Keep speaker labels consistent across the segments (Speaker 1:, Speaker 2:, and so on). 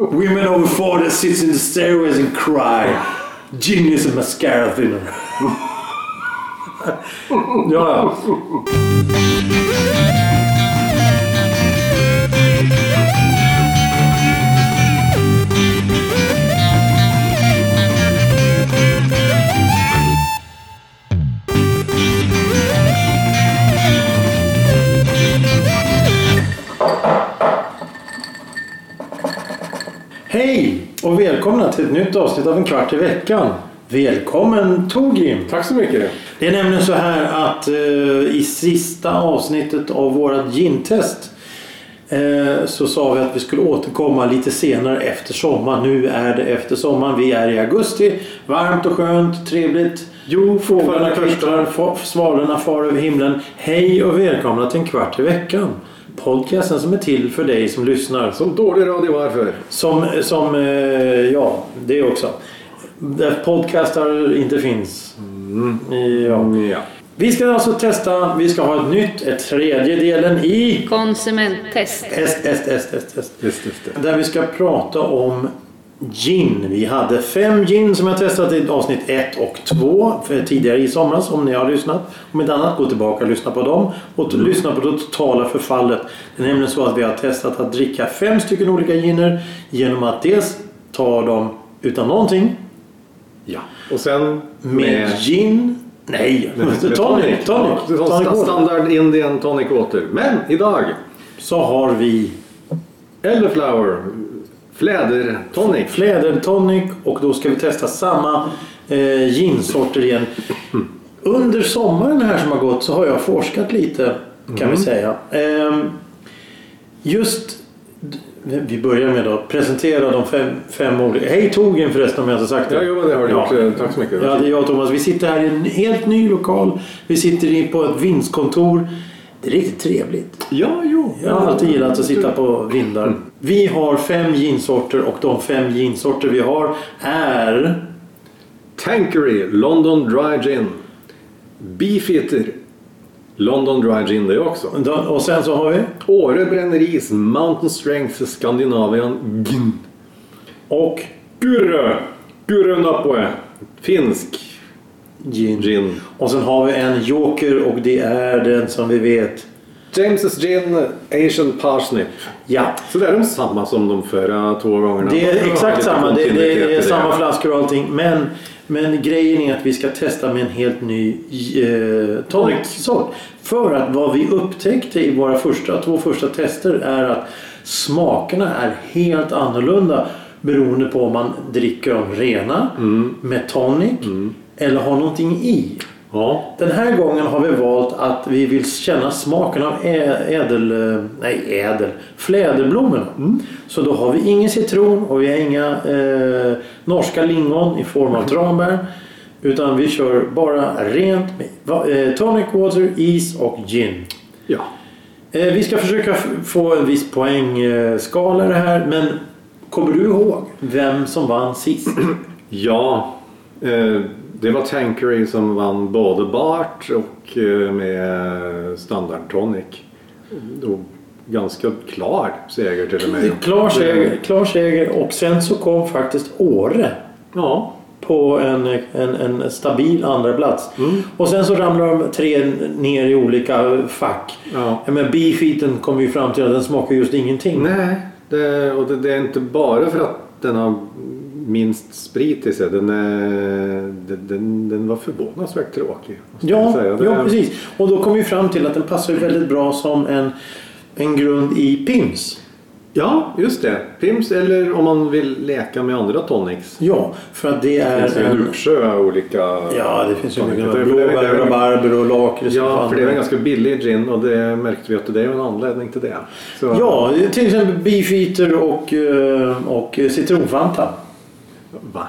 Speaker 1: Women over 40 sits in the stairways and cry. Gin is a mascara thinner. ja, ja. Hej och välkomna till ett nytt avsnitt av En kvart i veckan. Välkommen Togrim!
Speaker 2: Tack så mycket.
Speaker 1: Det är nämligen så här att eh, i sista avsnittet av vårat gintest eh, så sa vi att vi skulle återkomma lite senare efter sommaren. Nu är det efter sommaren. Vi är i augusti. Varmt och skönt, trevligt. Jo, fåglarna
Speaker 2: kvällen
Speaker 1: kvittrar, fa- svalorna far över himlen. Hej och välkomna till en kvart i veckan. Podcasten som är till för dig som lyssnar.
Speaker 2: Som dålig radio varför?
Speaker 1: Som, som eh, ja, det också. Där podcastar inte finns. Ja.
Speaker 2: Ja.
Speaker 1: Vi ska alltså testa, vi ska ha ett nytt, ett tredje delen i
Speaker 3: Konsumenttest.
Speaker 1: test, test, test, test, test.
Speaker 2: Just, just det.
Speaker 1: Där vi ska prata om gin. Vi hade fem gin som jag testat i avsnitt 1 och 2 för tidigare i somras om ni har lyssnat. Om inte annat, gå tillbaka och lyssna på dem. Och lyssna på det totala förfallet. Det är nämligen så att vi har testat att dricka fem stycken olika giner genom att dels ta dem utan någonting.
Speaker 2: Ja. Och sen
Speaker 1: Med, gin. Nej, tonic. Tonic, tonic,
Speaker 2: Det var
Speaker 1: tonic water.
Speaker 2: standard Indian tonic water. Men idag,
Speaker 1: Så har vi
Speaker 2: Elderflower fläder tonic.
Speaker 1: flädertonic och då ska vi testa samma eh, ginsorter igen. Under sommaren här som har gått så har jag forskat lite kan
Speaker 2: Mm.
Speaker 1: vi säga. Ehm, just vi börjar med att presentera de fem, fem olika... Hej Togen förresten om jag inte sagt det.
Speaker 2: Ja, jo, men det har du
Speaker 1: Ja.
Speaker 2: gjort. Tack så mycket.
Speaker 1: Ja, det är jag och Thomas. Vi sitter här i en helt ny lokal. Vi sitter in på ett vindskontor. Det är riktigt trevligt.
Speaker 2: Ja, jo.
Speaker 1: Jag har alltid gillat att sitta på vindar. Vi har fem ginsorter och de fem ginsorter vi har är...
Speaker 2: Tankery London Dry Gin. Beefeater London Dry Gin det också.
Speaker 1: Och sen så har vi...
Speaker 2: Åre Bränneris Mountain Strength Scandinavian Gin.
Speaker 1: Och
Speaker 2: Gurö! Gurö Napue. Finsk
Speaker 1: gin.
Speaker 2: gin.
Speaker 1: Och sen har vi en joker och det är den som vi vet.
Speaker 2: James's gin, Asian parsnip.
Speaker 1: Ja.
Speaker 2: Så det är de samma som de förra två gångerna.
Speaker 1: Det är exakt
Speaker 2: Lite
Speaker 1: samma. Det,
Speaker 2: kontinuitet
Speaker 1: det
Speaker 2: i
Speaker 1: är samma flaskor och allting. Men, men grejen är att vi ska testa med en helt ny eh, tonicsort. För att vad vi upptäckte i våra första, två första tester är att smakerna är helt annorlunda beroende på om man dricker dem rena med tonic eller har någonting i.
Speaker 2: Ja.
Speaker 1: Den här gången har vi valt att vi vill känna smaken av ä- ädel... eh, Nej, ädel. Fläderblommorna. Så då har vi ingen citron och vi har inga eh, norska lingon i form av tranbär. Utan vi kör bara rent med va- eh, tonic water, is och gin.
Speaker 2: ja.
Speaker 1: Eh, vi ska försöka f- få en viss poängskala i det här men kommer du ihåg vem som vann sist?
Speaker 2: Ja. Eh, det var Tankery som vann både Bart och eh, med standard tonic. Och ganska klar seger till och med.
Speaker 1: Klar
Speaker 2: Mm.
Speaker 1: seger, klar seger och sen så kom faktiskt Åre.
Speaker 2: Ja.
Speaker 1: på en, en, en stabil andra plats.
Speaker 2: Mm.
Speaker 1: Och sen så ramlar de tre ner i olika fack.
Speaker 2: Ja.
Speaker 1: Men beefeaten kommer ju fram till att den smakar just ingenting.
Speaker 2: Nej, det, och det, det är inte bara för att den har minst sprit i sig. Den, är, den, den, den var förvånansvärt tråkig. måste jag
Speaker 1: Ja,
Speaker 2: säga. Det
Speaker 1: ja,
Speaker 2: är-
Speaker 1: precis. Och då kommer vi fram till att den passar ju väldigt bra som en, en grund i Pims.
Speaker 2: ja, just det. Pims eller om man vill leka med andra tonics.
Speaker 1: Ja, för att det
Speaker 2: Det finns
Speaker 1: är...
Speaker 2: ju en
Speaker 1: En,
Speaker 2: uppsjö av olika...
Speaker 1: ja, det finns ju
Speaker 2: tonics.
Speaker 1: mycket
Speaker 2: Det är- det är- det är-
Speaker 1: blåbär, rabarber och lakrits. och
Speaker 2: Ja,
Speaker 1: fan.
Speaker 2: för det är en ganska billig gin och det märkte vi att det är en anledning till det. Så,
Speaker 1: Ja, till exempel beefeater och, eh, och citronfanta.
Speaker 2: Va?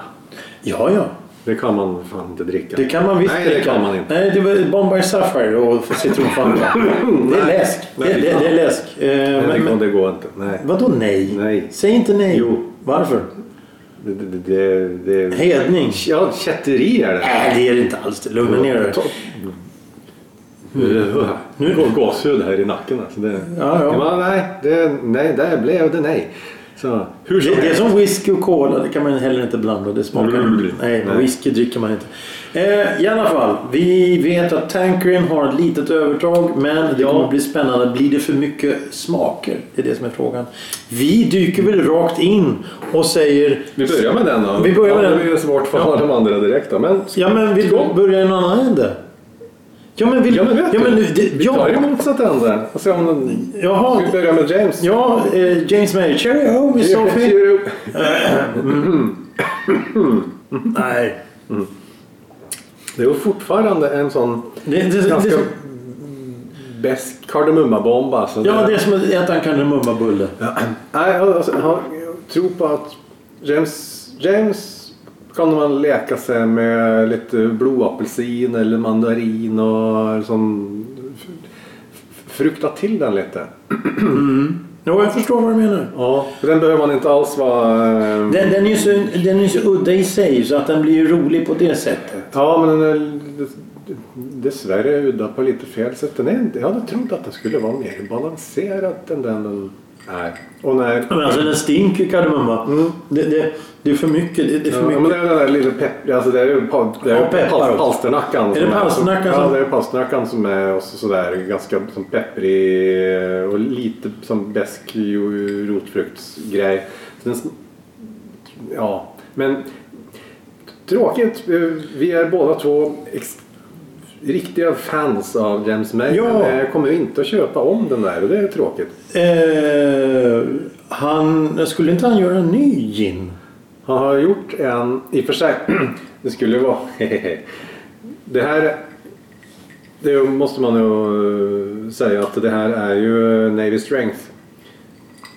Speaker 1: Ja, ja.
Speaker 2: Det kan man fan inte dricka.
Speaker 1: Det kan man visst
Speaker 2: Nej, det
Speaker 1: dricka.
Speaker 2: kan man inte.
Speaker 1: Nej, det var Bombay Sapphire och citronfanta. det är läsk. Det,
Speaker 2: Nej.
Speaker 1: det, det är läsk. Eh,
Speaker 2: Nej,
Speaker 1: men,
Speaker 2: det, går-
Speaker 1: men,
Speaker 2: det går inte. Nej.
Speaker 1: vadå nej?
Speaker 2: Nej.
Speaker 1: Säg inte nej.
Speaker 2: Jo.
Speaker 1: Varför?
Speaker 2: Det, det, det, det...
Speaker 1: Hedning?
Speaker 2: Ja, kätteri är det.
Speaker 1: Nej, det är det inte alls. Lugna ner dig.
Speaker 2: Nu går gåshud här i nacken. Alltså det,
Speaker 1: Ja, ja.
Speaker 2: Det var, nej, det, nej, där blev det nej. Så, hur som
Speaker 1: Det, det är
Speaker 2: helst.
Speaker 1: som whisky och cola, det kan man heller inte blanda. Det smakar
Speaker 2: Mm.
Speaker 1: Nej,
Speaker 2: Nej.
Speaker 1: whisky dricker man inte. Eh, I alla fall, vi vet att Tankerin har ett litet övertag men det
Speaker 2: Ja.
Speaker 1: kommer bli spännande. Blir det för mycket smaker? Det är det som är frågan. Vi dyker väl rakt in och säger...
Speaker 2: Vi börjar med den då.
Speaker 1: Vi börjar med
Speaker 2: ja,
Speaker 1: den.
Speaker 2: Det är svårt för alla de andra direkt då. Men
Speaker 1: Ja men vi
Speaker 2: Skål.
Speaker 1: börjar i en annan ände. Ja men, vill,
Speaker 2: Ja men vet
Speaker 1: ja, men
Speaker 2: du,
Speaker 1: nu- det,
Speaker 2: vi tar
Speaker 1: ja,
Speaker 2: ju motsatt ände. Och ser om den...
Speaker 1: Jaha.
Speaker 2: Ska vi börja med James?
Speaker 1: ja eh, James May. Cheerio, Miss Sophie.
Speaker 2: Cheerio.
Speaker 1: Nej.
Speaker 2: Det är fortfarande en sån
Speaker 1: Det, det, det,
Speaker 2: ganska
Speaker 1: det,
Speaker 2: besk kardemummabomb alltså.
Speaker 1: ja, det är som att äta en kardemummabulle.
Speaker 2: Ja. Nej, alltså, jag tror på att James, James kan man leka sig med lite blodapelsin eller mandarin och sån, frukta till den lite.
Speaker 1: Ja, jag förstår vad du menar.
Speaker 2: Ja. För den behöver man inte alls vara... eh,
Speaker 1: Den, den, är ju så, den är ju så udda i sig så att den blir ju rolig på det sättet.
Speaker 2: Ja, men den är dess- dessvärre udda på lite fel sätt. Den är, inte- jag hade trott att den skulle vara mer balanserad än den den är. Och när,
Speaker 1: Men alltså den stinker kardemumma. Det, det, det är för mycket. Det, det är för
Speaker 2: Ja, men
Speaker 1: mycket.
Speaker 2: det är den där lilla pepp... Alltså det är ju pa- det är
Speaker 1: Ja, peppar
Speaker 2: pal-
Speaker 1: också.
Speaker 2: palsternackan.
Speaker 1: det
Speaker 2: som
Speaker 1: palsternackan
Speaker 2: som... Ja,
Speaker 1: som-
Speaker 2: det är palsternackan som är också sådär ganska som pepprig eh, och lite som besk ju- rotfruktsgrej. Så den sm- Ja, men tråkigt. eh, Vi är båda två ex- riktiga fans av James May.
Speaker 1: Ja.
Speaker 2: Men jag kommer ju inte att köpa om den där och det är tråkigt.
Speaker 1: Eh, han, skulle inte han göra en ny gin?
Speaker 2: Han har gjort en, i och för sig, det skulle vara, det här, det måste man ju säga att det här är ju Navy Strength.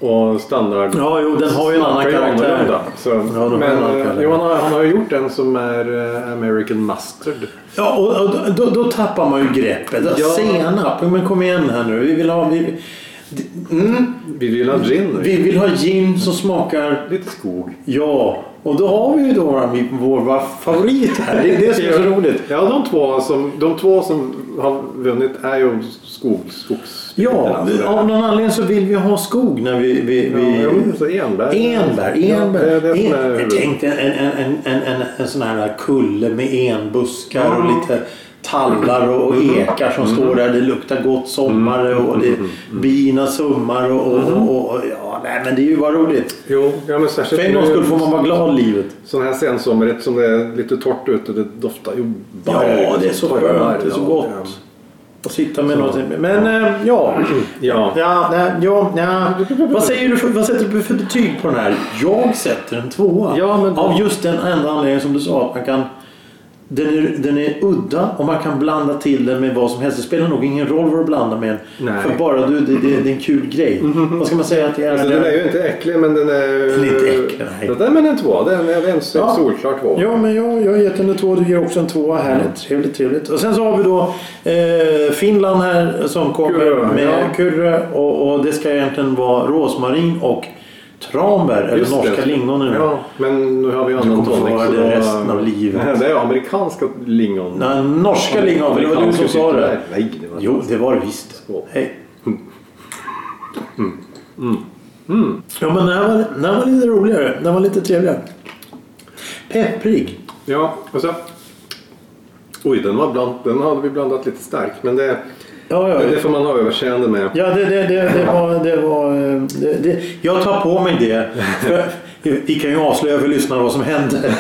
Speaker 2: Och standard.
Speaker 1: Ja, jo, den har ju en annan
Speaker 2: smakar ju
Speaker 1: karaktär.
Speaker 2: annorlunda. Så,
Speaker 1: den har en annan
Speaker 2: men
Speaker 1: karaktär.
Speaker 2: eh, jo, han, har, han har ju gjort en som är eh, American Mustard.
Speaker 1: Ja, och, och då, då tappar man ju greppet.
Speaker 2: Ja.
Speaker 1: Senap. Men kom igen här nu. Vi vill ha... Vi, mm,
Speaker 2: Vi vill ha gin nu.
Speaker 1: vi vill ha gin som smakar...
Speaker 2: Lite skog.
Speaker 1: Ja, och då har vi ju då vår, vår favorit här. Det är det som är så roligt.
Speaker 2: Ja, de två som, de två som har vunnit är ju skog, skogs...
Speaker 1: Ja, vi- av någon anledning så vill vi ha skog när vi... vi, vi...
Speaker 2: Ja, men så enbär.
Speaker 1: Enbär, enbär.
Speaker 2: Ja, det är det som
Speaker 1: en,
Speaker 2: är
Speaker 1: jag tänkte en, en, en, en, en, en sån här kulle med enbuskar och lite tallar och, och
Speaker 2: Mm.
Speaker 1: ekar som står där. Det luktar gott sommar och det
Speaker 2: Mm.
Speaker 1: bina summar och, och, och, och ja, nej men det är ju bara roligt.
Speaker 2: Jo, ja, men särskilt
Speaker 1: För en gångs skull får man vara glad i livet.
Speaker 2: Sån här sensommarrätt som det är lite torrt ute, det doftar ju barr.
Speaker 1: Ja, det är så skönt, det är så gott. Att sitta med någonting. Men eh, ja.
Speaker 2: Ja.
Speaker 1: Ja, nej, ja, nej. Vad, säger du för, vad sätter du för betyg på den här? Jag sätter en tvåa.
Speaker 2: Ja, men då-
Speaker 1: Av just den enda anledningen som du sa. Att man kan, den, är, den är udda och man kan blanda till den med vad som helst. Det spelar nog ingen roll vad du blandar med den.
Speaker 2: Nej.
Speaker 1: För bara du, det, det, det är en kul grej. Vad ska man säga att det är?
Speaker 2: Alltså, den är ju inte äcklig, men den är...
Speaker 1: Den är inte äcklig, nej.
Speaker 2: Den, men en tvåa. Den är en
Speaker 1: Ja.
Speaker 2: solklar tvåa.
Speaker 1: Ja, men jag, jag har gett henne två. Du ger också en tvåa. Härligt. Trevligt, trevligt. Och sen så har vi då eh, Finland här som kommer
Speaker 2: Kurre,
Speaker 1: med
Speaker 2: ja.
Speaker 1: kurre. Och, och det ska egentligen vara rosmarin och tranbär. Eller
Speaker 2: Just
Speaker 1: norska
Speaker 2: det.
Speaker 1: lingon nu.
Speaker 2: Ja, men nu har vi
Speaker 1: kommer
Speaker 2: annan
Speaker 1: få
Speaker 2: tonic.
Speaker 1: höra
Speaker 2: så
Speaker 1: det
Speaker 2: då-
Speaker 1: resten av livet.
Speaker 2: Det är amerikanska lingon.
Speaker 1: Nej, norska lingon. för Det var du som sa det.
Speaker 2: Nej, det var
Speaker 1: Jo, det var det visst.
Speaker 2: Skål. Mm.
Speaker 1: Hej.
Speaker 2: Mm.
Speaker 1: Ja, men den här, var, den här var lite roligare. Den var lite trevligare. Pepprig.
Speaker 2: Ja, och så... Oj, den, var bland, den hade vi blandat lite stark, men det,
Speaker 1: Ja, ja.
Speaker 2: det får man ha överseende med.
Speaker 1: Ja, det, det, det, det var... Det var eh, det, det, jag tar på mig det. För, vi kan ju avslöja för lyssnarna vad som hände.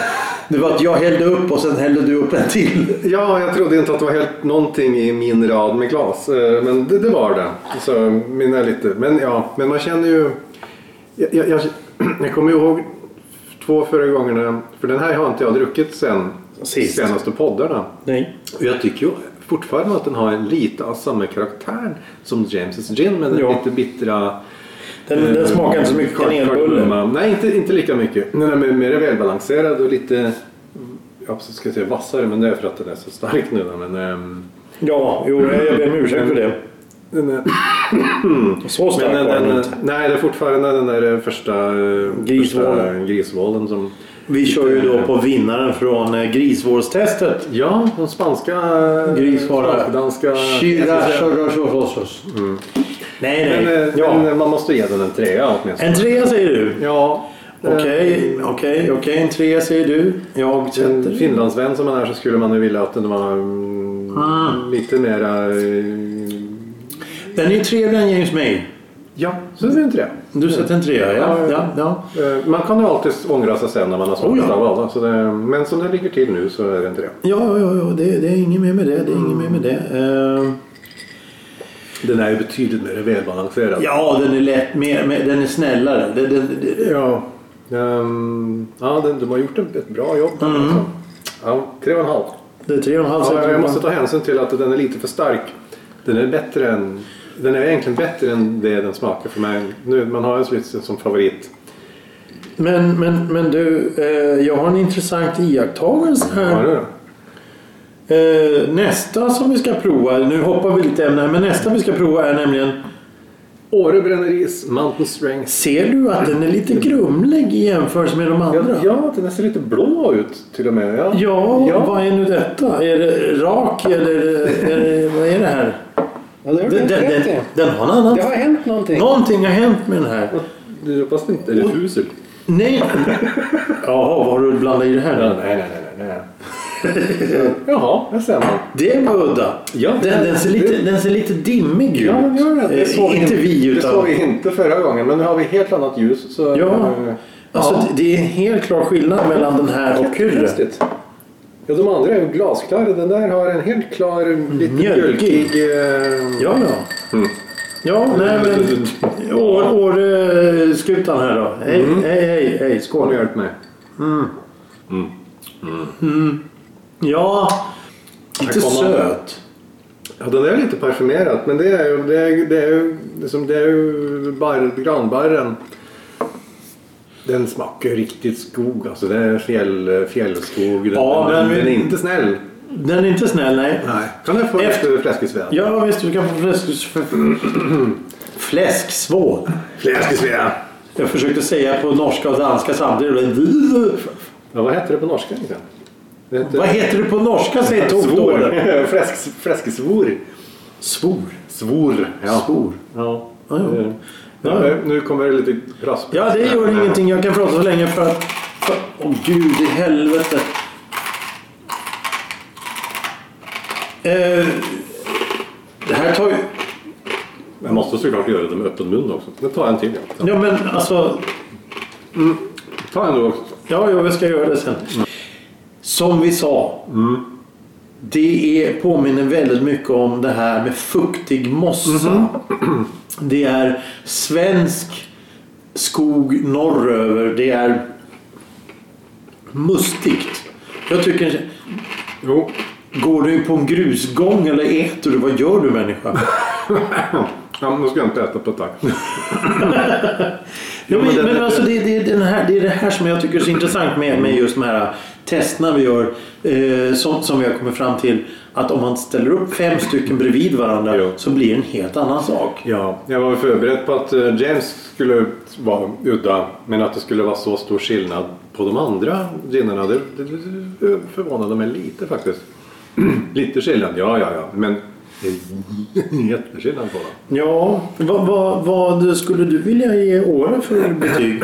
Speaker 1: Det var att jag hällde upp och sen hällde du upp en till.
Speaker 2: Ja, jag trodde inte att det var helt någonting i min rad med glas. eh, Men det, det var det. Så mina lite. Men ja, men man känner ju... Jag, jag, jag, jag kommer ihåg två förra gångerna. För den här har inte jag druckit sen
Speaker 1: Sist.
Speaker 2: senaste poddarna.
Speaker 1: Nej.
Speaker 2: Och jag tycker ju fortfarande att den har lite av samma karaktär som James' gin. Men den
Speaker 1: Ja.
Speaker 2: lite bittra... eh,
Speaker 1: Den, den smakar inte så mycket
Speaker 2: Kar-
Speaker 1: kanelbulle.
Speaker 2: kardemumma. Nej, inte, inte lika mycket. Den är mer- mer välbalanserad och lite... Jag ska säga vassare, men det är för att den är så stark nu. då, Men, ehm,
Speaker 1: Ja, jo, jag ber om ursäkt för det.
Speaker 2: den är,
Speaker 1: Så stark
Speaker 2: men den,
Speaker 1: var den
Speaker 2: den,
Speaker 1: inte.
Speaker 2: nej, det är fortfarande den där första, eh,
Speaker 1: Grisvålen.
Speaker 2: första grisvålen som...
Speaker 1: Vi kör ju då på vinnaren från eh, grisvårdstestet.
Speaker 2: Ja, de spanska...
Speaker 1: Grisvara.
Speaker 2: Danska...
Speaker 1: Kyra, chorros, chorros. Nej, nej.
Speaker 2: Mm. Men, eh,
Speaker 1: ja.
Speaker 2: men man måste ge den en trea åtminstone.
Speaker 1: En trea säger du?
Speaker 2: Ja. eh,
Speaker 1: Okej, okej, okej. En trea säger du. Jag sätter...
Speaker 2: En finlandsvän som man är så skulle man ju vilja att den var mm,
Speaker 1: Mm.
Speaker 2: lite mera... eh,
Speaker 1: Den är ju trevligare än James May.
Speaker 2: Ja, så är det en trea.
Speaker 1: Du sätter en trea, ja. ja, ja.
Speaker 2: Eh, Man kan ju alltid ångra sig sen när man har
Speaker 1: Oh, ja.
Speaker 2: smakat av alla. Så det, men som det ligger till nu så är det en trea.
Speaker 1: Ja, ja, ja, ja. Det, det är inget mer med det. Det är inget mer med det. Eh,
Speaker 2: Den är ju betydligt mer välbalanserad.
Speaker 1: ja, den är lätt. Mer, mer, den är snällare. Det, det, det,
Speaker 2: Ja, ehm, ja den, de har gjort ett ett bra jobb.
Speaker 1: Mm.
Speaker 2: Alltså. Ja, tre och en halv.
Speaker 1: det är tre och en halv
Speaker 2: Ja,
Speaker 1: sätter
Speaker 2: jag
Speaker 1: du.
Speaker 2: måste ta hänsyn till att den är lite för stark. Den är bättre än... Den är egentligen bättre än det den smakar för mig. Nu, man har en Switzer som favorit.
Speaker 1: Men, men, men du, eh, jag har en intressant iakttagelse
Speaker 2: Ja,
Speaker 1: här.
Speaker 2: nu då.
Speaker 1: Eh, nästa som vi ska prova, nu hoppar vi lite ämne här, men nästa vi ska prova är nämligen
Speaker 2: Åre Bränneris Mountain Strength.
Speaker 1: Ser du att den är lite grumlig i jämförelse med de
Speaker 2: Ja,
Speaker 1: andra?
Speaker 2: ja, den ser lite blå ut till och med. Ja,
Speaker 1: Ja,
Speaker 2: ja.
Speaker 1: vad är nu detta? Är det rak eller är det, vad är det här?
Speaker 3: Ja, det har
Speaker 1: Den,
Speaker 3: du helt
Speaker 1: den,
Speaker 3: rätt i.
Speaker 1: den, den har en annan.
Speaker 3: Det har hänt någonting.
Speaker 1: Någonting har hänt med den här.
Speaker 2: Du hoppas det inte är det fusel?
Speaker 1: Nej. Jaha, vad har du blandat i det här?
Speaker 2: Ja, nej, nej, nej, nej, nej. Jaha, där ser man.
Speaker 1: Det var udda.
Speaker 2: Ja,
Speaker 1: den, den, ser lite,
Speaker 2: det-
Speaker 1: den ser lite dimmig ut.
Speaker 2: Ja, den gör det. Det
Speaker 1: Eh,
Speaker 2: såg
Speaker 1: inte vi
Speaker 2: Det
Speaker 1: utan...
Speaker 2: såg vi inte förra gången, men nu har vi helt annat ljus. Så,
Speaker 1: Ja.
Speaker 2: eh,
Speaker 1: Alltså,
Speaker 2: ja.
Speaker 1: det- Det är en helt klar skillnad mellan den här och Kyrre.
Speaker 2: Konstigt. Ja, de andra är ju glasklara. Den där har en helt klar, lite
Speaker 1: Mjölkig.
Speaker 2: mjölkig... eh,
Speaker 1: Ja, ja. Ja, nej men... Å- Åre-skutan här då. Hej, hej, hej, hej.
Speaker 2: Har ni
Speaker 1: Skål.
Speaker 2: hjälpt mig?
Speaker 1: Ja, lite
Speaker 2: Här kommer den.
Speaker 1: söt.
Speaker 2: Ja, den är lite parfymerad, men det är ju, det är, det är, ju- liksom, det är ju bar, granbarren. Den smakar ju riktigt skog, alltså. Det är fjäll, fjällskog. Den,
Speaker 1: Ja,
Speaker 2: den,
Speaker 1: men-
Speaker 2: den är inte snäll.
Speaker 1: Den är inte snäll, nej.
Speaker 2: Nej. Kan jag få
Speaker 1: Efter-
Speaker 2: ett fläskesved?
Speaker 1: Ja, visst, du kan få fläsk... Fläsksvål.
Speaker 2: Fläskesved!
Speaker 1: Jag försökte säga på norska och danska samtidigt.
Speaker 2: Ja, vad heter det på norska egentligen? Det heter...
Speaker 1: Vad heter det på norska, säger Tordåre?
Speaker 2: Fläsk, fläskesvor.
Speaker 1: Svor.
Speaker 2: Svor. Ja.
Speaker 1: Svor.
Speaker 2: Ja.
Speaker 1: Ja, ja.
Speaker 2: Eh, nu- Nu kommer det lite rasp.
Speaker 1: Ja, det gör ingenting. Jag kan prata så länge för att... för- Åh gud i helvete. Eh, det här tar ju...
Speaker 2: Jag måste såklart göra det med öppen mun också. Nu tar jag en till. Ja.
Speaker 1: Ja, men alltså...
Speaker 2: Ta en då också.
Speaker 1: Ja, ja, jag ska göra det sen. Som vi sa. mm, Det är, påminner väldigt mycket om det här med fuktig mossa. Det är svensk skog norröver. Det är mustigt. Jag tycker...
Speaker 2: Jo.
Speaker 1: Går du på en grusgång eller äter du? Vad gör du människa?
Speaker 2: Ja, men nu ska jag inte äta på ett tag.
Speaker 1: Ja, men,
Speaker 2: men det-
Speaker 1: men
Speaker 2: det-
Speaker 1: alltså det, det, är den här, det är det här som jag tycker är så intressant med, med just de här äh, testerna vi gör. Eh, som, som vi har kommit fram till att om man ställer upp fem stycken bredvid varandra
Speaker 2: Jo.
Speaker 1: så blir det en helt annan sak.
Speaker 2: Ja, jag var förberedd på att eh, James skulle vara udda. Men att det skulle vara så stor skillnad på de andra ginerna. Det, det, det förvånade mig lite faktiskt. lite skillnad, ja ja ja. Men det är jätteskillnad på dem.
Speaker 1: Ja, vad, vad, vad skulle du vilja ge Åre för betyg?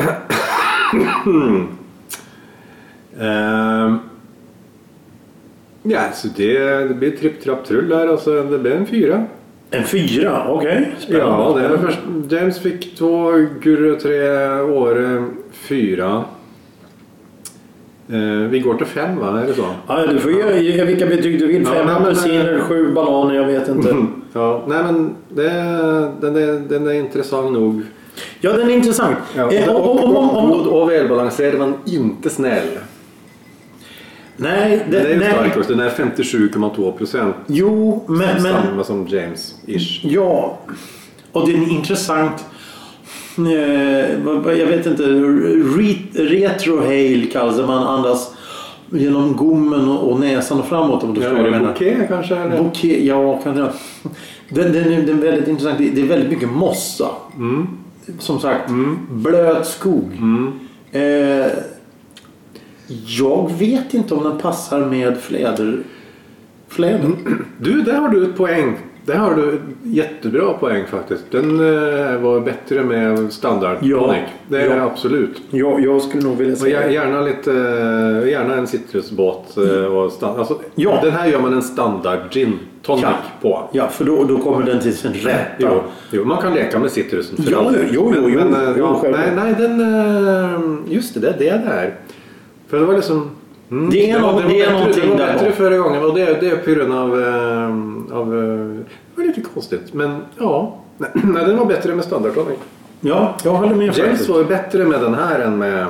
Speaker 2: Ehm, ja, så det, det blir tripp, trapp, trull här. Alltså, det blir en fyra.
Speaker 1: En fyra? Okej.
Speaker 2: Ja, det är
Speaker 1: Spännande.
Speaker 2: det först. James fick två, Gurre tre, Åre fyra. Eh, vi går till fem, va? Är det så?
Speaker 1: Ja, du får ge, ge vilka betyg du vill.
Speaker 2: Ja,
Speaker 1: Fem
Speaker 2: men-
Speaker 1: apelsiner, sju bananer, jag vet inte.
Speaker 2: Ja, nej men det, den, är, den är intressant nog.
Speaker 1: Ja, den är intressant. Eh, om-
Speaker 2: och,
Speaker 1: om- om- om-
Speaker 2: god och välbalanserad men inte snäll.
Speaker 1: Nej, det,
Speaker 2: Den är ju
Speaker 1: nej.
Speaker 2: stark också. Den är 57,2 procent.
Speaker 1: Jo, men, men
Speaker 2: Samma som James-ish.
Speaker 1: Ja, och det är en intressant... Eh, vad- vad- jag vet inte. re- Retrohale kallas det. Man andas genom gommen och och näsan och framåt om du
Speaker 2: Ja,
Speaker 1: förstår vad
Speaker 2: är
Speaker 1: jag
Speaker 2: det
Speaker 1: menar.
Speaker 2: bouquet kanske? Eller?
Speaker 1: Bouquet, ja, kan det den, den, är- den är väldigt intressant. Det det är väldigt mycket mossa. Mm. Som sagt, blöt skog. Eh, jag vet inte om den passar med fläder. Fläder?
Speaker 2: Du, där har du ett poäng. Det har du jättebra poäng faktiskt. Den eh, var bättre med standard
Speaker 1: Ja.
Speaker 2: tonic. Det är
Speaker 1: Ja.
Speaker 2: absolut.
Speaker 1: Jag, jag skulle nog vilja
Speaker 2: Och
Speaker 1: säga...
Speaker 2: gär- gärna, lite, eh, gärna en citrusbåt. eh, Och stand, alltså,
Speaker 1: Ja.
Speaker 2: Den här gör man en standard gin tonic
Speaker 1: Ja.
Speaker 2: på.
Speaker 1: Ja, för då, då kommer den till sin rätta.
Speaker 2: Jo, jo, man kan leka med citrusen. för
Speaker 1: Ja,
Speaker 2: allt.
Speaker 1: jo, jo,
Speaker 2: men,
Speaker 1: jo,
Speaker 2: men, eh,
Speaker 1: jo,
Speaker 2: ja, nej,
Speaker 1: självklart.
Speaker 2: nej, den... eh, Just det, det är det där. För det var liksom... Mm,
Speaker 1: Det är
Speaker 2: var-
Speaker 1: nå- det
Speaker 2: var
Speaker 1: är
Speaker 2: bättre-
Speaker 1: någonting
Speaker 2: Det var
Speaker 1: där
Speaker 2: bättre
Speaker 1: bak.
Speaker 2: förra gången och det, är- det är på grund av... eh, av eh, det var lite konstigt, men ja. Nej, nej, den var bättre med standardtonic.
Speaker 1: Ja, jag håller med
Speaker 2: James
Speaker 1: faktiskt.
Speaker 2: var ju bättre med den här än med...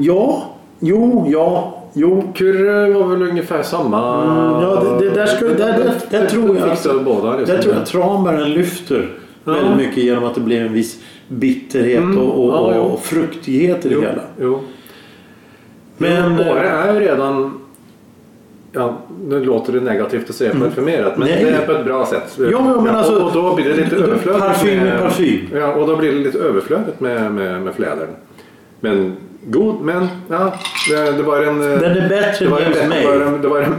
Speaker 1: Ja, jo, ja, jo.
Speaker 2: Kurre var väl ungefär samma...
Speaker 1: Mm, ja, det- det där skulle- där- där- där tror jag-
Speaker 2: Fixade båda. liksom.
Speaker 1: Där tror jag tranbären lyfter
Speaker 2: Ja.
Speaker 1: väldigt mycket genom att det blir en viss bitterhet
Speaker 2: Mm,
Speaker 1: och, och,
Speaker 2: ja, jo.
Speaker 1: och fruktighet i det
Speaker 2: Jo,
Speaker 1: hela.
Speaker 2: jo. Men
Speaker 1: Men,
Speaker 2: Åre
Speaker 1: eh,
Speaker 2: är ju redan... Ja, nu låter det negativt att säga parfymerat, men
Speaker 1: Mm. Nej.
Speaker 2: det är på ett bra sätt.
Speaker 1: Ja, men- men alltså-
Speaker 2: och då blir det lite
Speaker 1: d- d-
Speaker 2: överflödigt.
Speaker 1: parfym
Speaker 2: med-
Speaker 1: är parfym.
Speaker 2: Ja, och då blir det lite överflödigt med, med, med flädern. Men god, men ja, det, det var en... eh,
Speaker 1: Den är
Speaker 2: Det
Speaker 1: bättre
Speaker 2: var, en,
Speaker 1: än James
Speaker 2: bättre- det var,
Speaker 1: May.
Speaker 2: en, det var en,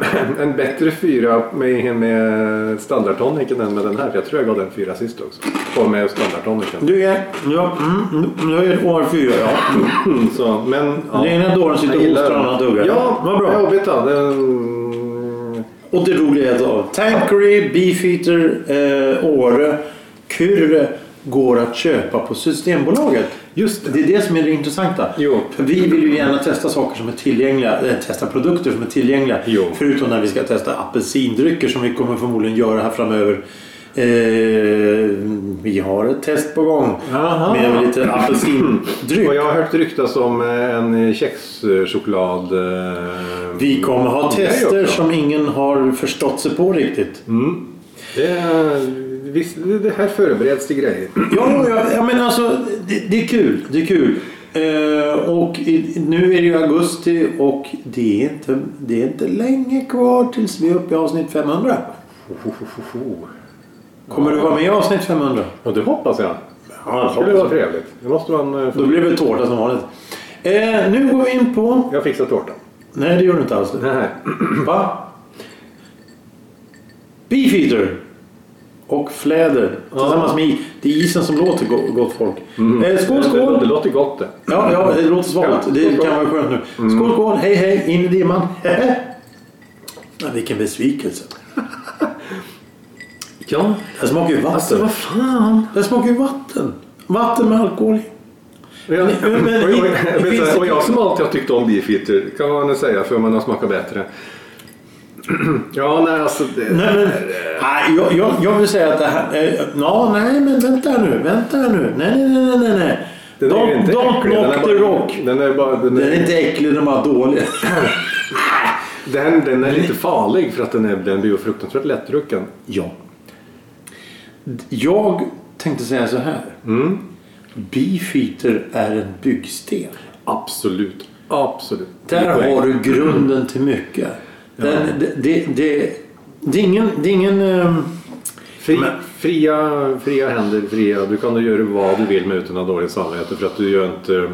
Speaker 2: en bättre fyra med, med standardtoniken än med den här. Jag tror jag gav den fyra sist också. Och med standardtoniken.
Speaker 1: Du är... Ja, mm, nu är det år fyra. Ja.
Speaker 2: Mm, så, men, ja.
Speaker 1: Det är när dåren sitter
Speaker 2: Jag
Speaker 1: och
Speaker 2: gillar
Speaker 1: hostar och
Speaker 2: den.
Speaker 1: han duggar.
Speaker 2: Ja,
Speaker 1: Vad bra.
Speaker 2: vad jobbigt då. Den...
Speaker 1: Och det roliga är då. Tankery, Beefeater, eh, Åre, Kyrre går att köpa på Systembolaget.
Speaker 2: Just det.
Speaker 1: Det är det som är det intressanta.
Speaker 2: Jo.
Speaker 1: För vi vill ju gärna testa saker som är tillgängliga, eh, testa produkter som är tillgängliga.
Speaker 2: Jo.
Speaker 1: Förutom när vi ska testa apelsindrycker som vi kommer förmodligen göra här framöver. Eh, vi har ett test på gång
Speaker 2: Aha.
Speaker 1: med lite apelsindryck.
Speaker 2: Och jag har hört ryktas om eh, en kexchoklad... eh,
Speaker 1: Vi kommer ha
Speaker 2: Det är ju
Speaker 1: tester
Speaker 2: också.
Speaker 1: som ingen har förstått sig på riktigt.
Speaker 2: Mm. Det, är- visst, det här förbereds till grejer.
Speaker 1: Ja, ja, ja men alltså det, det är kul. Det är kul. Eh, och i, nu är det ju augusti och det är, inte, det är inte länge kvar tills vi är uppe i avsnitt 500. Kommer du vara med i avsnitt 500?
Speaker 2: Och det hoppas jag.
Speaker 1: Ja,
Speaker 2: Det skulle vara trevligt. Det måste man... eh, få-
Speaker 1: Då blir det väl tårta som vanligt. Eh, nu går vi in på...
Speaker 2: Jag fixar tårtan.
Speaker 1: Nej, det gör du inte alls.
Speaker 2: Nej.
Speaker 1: Va? Beefeater och fläder tillsammans med is. Det är isen som låter, go- gott folk. Eh, skål,
Speaker 2: Det- Det, det
Speaker 1: skål!
Speaker 2: låter gott det.
Speaker 1: Ja, ja, det låter
Speaker 2: Ja,
Speaker 1: svalt.
Speaker 2: skål,
Speaker 1: Det
Speaker 2: skål. Mm.
Speaker 1: kan vara skönt nu. Skål, skål! Hej, hej! In i dimman! Men vilken besvikelse.
Speaker 2: Ja.
Speaker 1: Den smakar ju
Speaker 2: Alltså
Speaker 1: vatten.
Speaker 2: vad fan.
Speaker 1: Den smakar ju vatten. Vatten med alkohol i.
Speaker 2: Ja.
Speaker 1: Men- men-
Speaker 2: och, och,
Speaker 1: det
Speaker 2: men
Speaker 1: finns-
Speaker 2: så här, och jag som alltid har tyckt om beefeater kan man säga för man har smakat bättre. ja, nej alltså. Det,
Speaker 1: Nej, men, nej, jag, jag, jag vill säga att det här... Eh, ja, nej, men vänta nu. Vänta nu. Nej, nej, nej, nej, nej.
Speaker 2: den är ju
Speaker 1: Don't,
Speaker 2: inte
Speaker 1: don't
Speaker 2: äcklig, den är
Speaker 1: knock the
Speaker 2: bara-
Speaker 1: rock.
Speaker 2: Den är bara... Den
Speaker 1: Den är
Speaker 2: är,
Speaker 1: inte äcklig, den är bara dålig.
Speaker 2: den, den är lite farlig för att den, är, den blir ju fruktansvärt lättdrucken.
Speaker 1: ja. Jag tänkte säga så här.
Speaker 2: Mm.
Speaker 1: Beefeater är en byggsten.
Speaker 2: Absolut. Absolut.
Speaker 1: Där
Speaker 2: Poäng.
Speaker 1: har du grunden till mycket. Den, det, det, det, det är ingen... Det är ingen ehm,
Speaker 2: Fri, fria, fria händer, fria. Du kan göra vad du vill med utan att ha dåligt samvete för att du gör inte...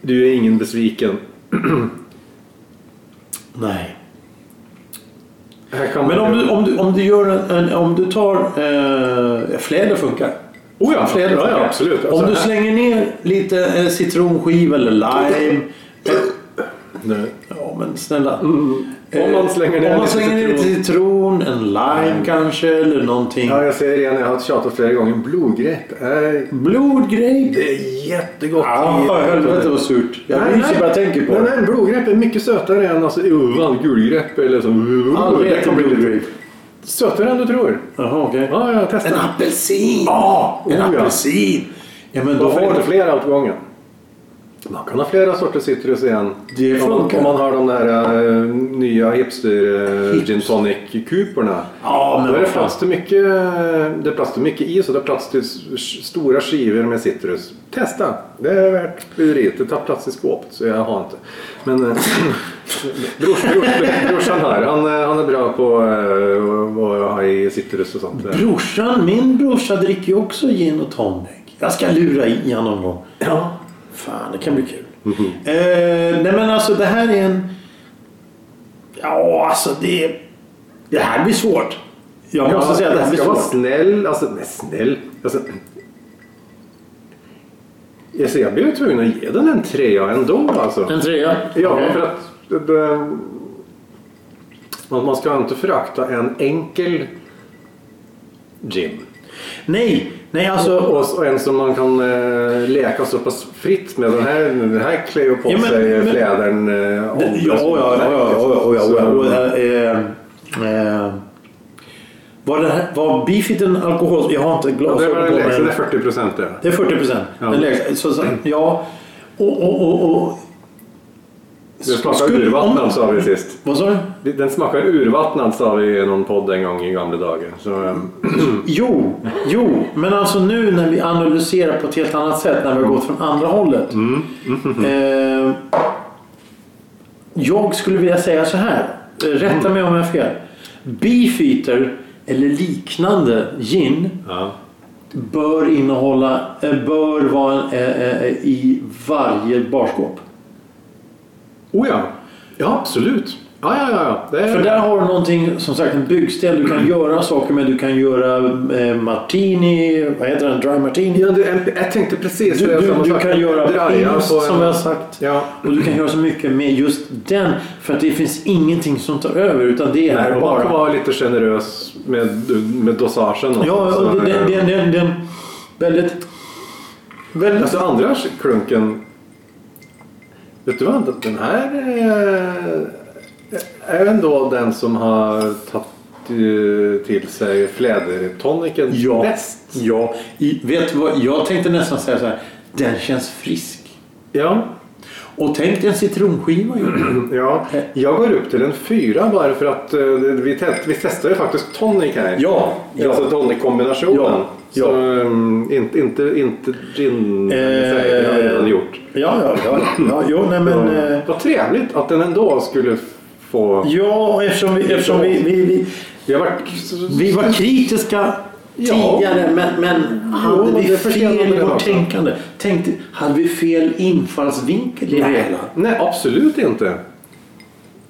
Speaker 2: Du är ingen besviken.
Speaker 1: nej.
Speaker 2: Här kan
Speaker 1: Men
Speaker 2: man
Speaker 1: om
Speaker 2: ju-
Speaker 1: du, om du, om du, gör en, en, om du tar... Eh, fläder funkar.
Speaker 2: Oh ja,
Speaker 1: Fläder
Speaker 2: ja,
Speaker 1: funkar.
Speaker 2: ja, absolut.
Speaker 1: om
Speaker 2: Alltså,
Speaker 1: du
Speaker 2: här-
Speaker 1: slänger ner lite eh, citronskiva eller lime. eh,
Speaker 2: Nej.
Speaker 1: Ja, men snälla.
Speaker 2: Mm.
Speaker 1: Eh,
Speaker 2: Om man slänger ner
Speaker 1: Om man
Speaker 2: lite
Speaker 1: slänger ner lite
Speaker 2: citron.
Speaker 1: citron, en lime kanske eller någonting.
Speaker 2: Ja, jag säger det igen, jag har tjatat flera gånger. Blodgrepp är...
Speaker 1: Blodgrape.
Speaker 2: Det är jättegott.
Speaker 1: Ja, för helvete vad surt. Jag ryser bara jag tänker på
Speaker 2: nej,
Speaker 1: det.
Speaker 2: nej, blodgrepp är mycket sötare än alltså, uvan, gulgrepp eller så.
Speaker 1: Aldrig
Speaker 2: Det
Speaker 1: ätit
Speaker 2: kan bli lite-
Speaker 1: blodgrape.
Speaker 2: Sötare än du tror.
Speaker 1: Jaha, okej.
Speaker 2: Ja, jag
Speaker 1: En
Speaker 2: testar.
Speaker 1: apelsin!
Speaker 2: Ja,
Speaker 1: en
Speaker 2: oh ja.
Speaker 1: apelsin! Ja, men då
Speaker 2: Varför
Speaker 1: har
Speaker 2: inte
Speaker 1: du...
Speaker 2: flera åt gången? Man kan ha flera sorters citrus igen.
Speaker 1: Det
Speaker 2: Om man-
Speaker 1: funkar.
Speaker 2: Om man har de där eh, nya hipster eh, gin tonic kuporna.
Speaker 1: Ja, men
Speaker 2: Då är
Speaker 1: vad
Speaker 2: det
Speaker 1: fan.
Speaker 2: plats till mycket, det är plats till mycket is och det är plats till s- stora skivor med citrus. Testa! Det är värt bryt. Det tar plats i skåpet så jag har inte. Men eh, brors, brors, brorsan här, han, eh, han är bra på eh, att ha i citrus och sånt.
Speaker 1: Brorsan, min brorsa dricker ju också gin och tonic. Jag ska lura i honom någon gång.
Speaker 2: Ja.
Speaker 1: Fan, det kan bli kul.
Speaker 2: Mhm.
Speaker 1: Eh, nej men alltså det här är en... Ja, alltså det... Det här blir svårt. Jag måste säga att det här
Speaker 2: jag
Speaker 1: blir
Speaker 2: ska vara
Speaker 1: svårt.
Speaker 2: snäll. Alltså, nej, snäll. Alltså, alltså, jag blev tvungen att ge den en trea ändå alltså.
Speaker 1: En trea?
Speaker 2: Ja,
Speaker 1: Okej.
Speaker 2: för att det, det, man man ska inte förakta en enkel gym.
Speaker 1: Nej, nej alltså.
Speaker 2: Och, och en som man kan eh, leka så pass fritt med. Den här, den här klär ju på
Speaker 1: Ja, men-
Speaker 2: sig
Speaker 1: men-
Speaker 2: flädern. Eh, om-
Speaker 1: Ja, ja, ja, ja, ja, ja, ja, ja,
Speaker 2: Så-
Speaker 1: och, eh, eh, Var, det här, var Beefeaten alkohol... Jag har inte
Speaker 2: Ja, det
Speaker 1: glasögon
Speaker 2: var
Speaker 1: på
Speaker 2: den
Speaker 1: mig.
Speaker 2: lägsta, det är 40 procent det.
Speaker 1: Det är 40 procent.
Speaker 2: Ja.
Speaker 1: Så, så, ja. Och, och, och, och.
Speaker 2: Den smakar
Speaker 1: Skulle- om-
Speaker 2: urvattnad sa vi sist.
Speaker 1: Vad sa du?
Speaker 2: Den smakar urvattnad sa vi i någon podd en gång i gamla dagar. Så, eh,
Speaker 1: Jo, jo, men alltså nu när vi analyserar på ett helt annat sätt när vi har gått från andra hållet. Eh, jag skulle vilja säga så här. Eh, Rätta mig om jag har fel. Beefeater eller liknande gin
Speaker 2: ja.
Speaker 1: bör innehålla, eh, bör vara eh, eh, eh, i varje barskåp.
Speaker 2: Oh ja. ja, absolut. Ja, ja, ja, ja. Det är...
Speaker 1: För där har du någonting, som sagt en byggsten du kan göra saker med. Du kan göra eh, martini, vad heter den, dry martini.
Speaker 2: Ja, du, en- jag tänkte precis
Speaker 1: Du,
Speaker 2: det jag
Speaker 1: du,
Speaker 2: samma
Speaker 1: du
Speaker 2: sak.
Speaker 1: kan göra
Speaker 2: Draja
Speaker 1: pils
Speaker 2: på en-
Speaker 1: som vi har sagt.
Speaker 2: Ja.
Speaker 1: Och du kan göra så mycket med just den. För att det finns ingenting som tar över utan det
Speaker 2: Nej,
Speaker 1: är
Speaker 2: och man
Speaker 1: bara...
Speaker 2: kan vara lite generös med, med dosagen. också.
Speaker 1: Ja,
Speaker 2: Så,
Speaker 1: och det, det,
Speaker 2: eh,
Speaker 1: det, det, det, väldigt... väldigt
Speaker 2: Alltså andra klunken. Vet du vad? Den här eh, är ändå den som har tagit eh, till sig flädertoniken
Speaker 1: ja,
Speaker 2: bäst.
Speaker 1: ja. I, vet du vad, jag tänkte nästan säga så här. Den känns frisk.
Speaker 2: Ja.
Speaker 1: Och tänk dig en citronskiva. ju.
Speaker 2: ja. Jag går upp till en fyra bara för att eh, vi, test, vi testade faktiskt tonic här.
Speaker 1: Ja, ja.
Speaker 2: Alltså tonic-kombinationen.
Speaker 1: Ja, ja. Eh.
Speaker 2: Så um, inte, inte, inte gin, det har vi redan gjort.
Speaker 1: Ja, ja, ja. ja jo, nej, men, eh,
Speaker 2: Vad trevligt att den ändå skulle få...
Speaker 1: ja eftersom vi, eftersom vi, vi, vi,
Speaker 2: Jag var,
Speaker 1: vi var kritiska
Speaker 2: Ja.
Speaker 1: tidigare men, men hade
Speaker 2: Jo,
Speaker 1: vi
Speaker 2: det förtjänar
Speaker 1: fel i
Speaker 2: det
Speaker 1: vårt
Speaker 2: också.
Speaker 1: tänkte Tänkte, hade vi fel infallsvinkel i det hela?
Speaker 2: Nej, absolut inte.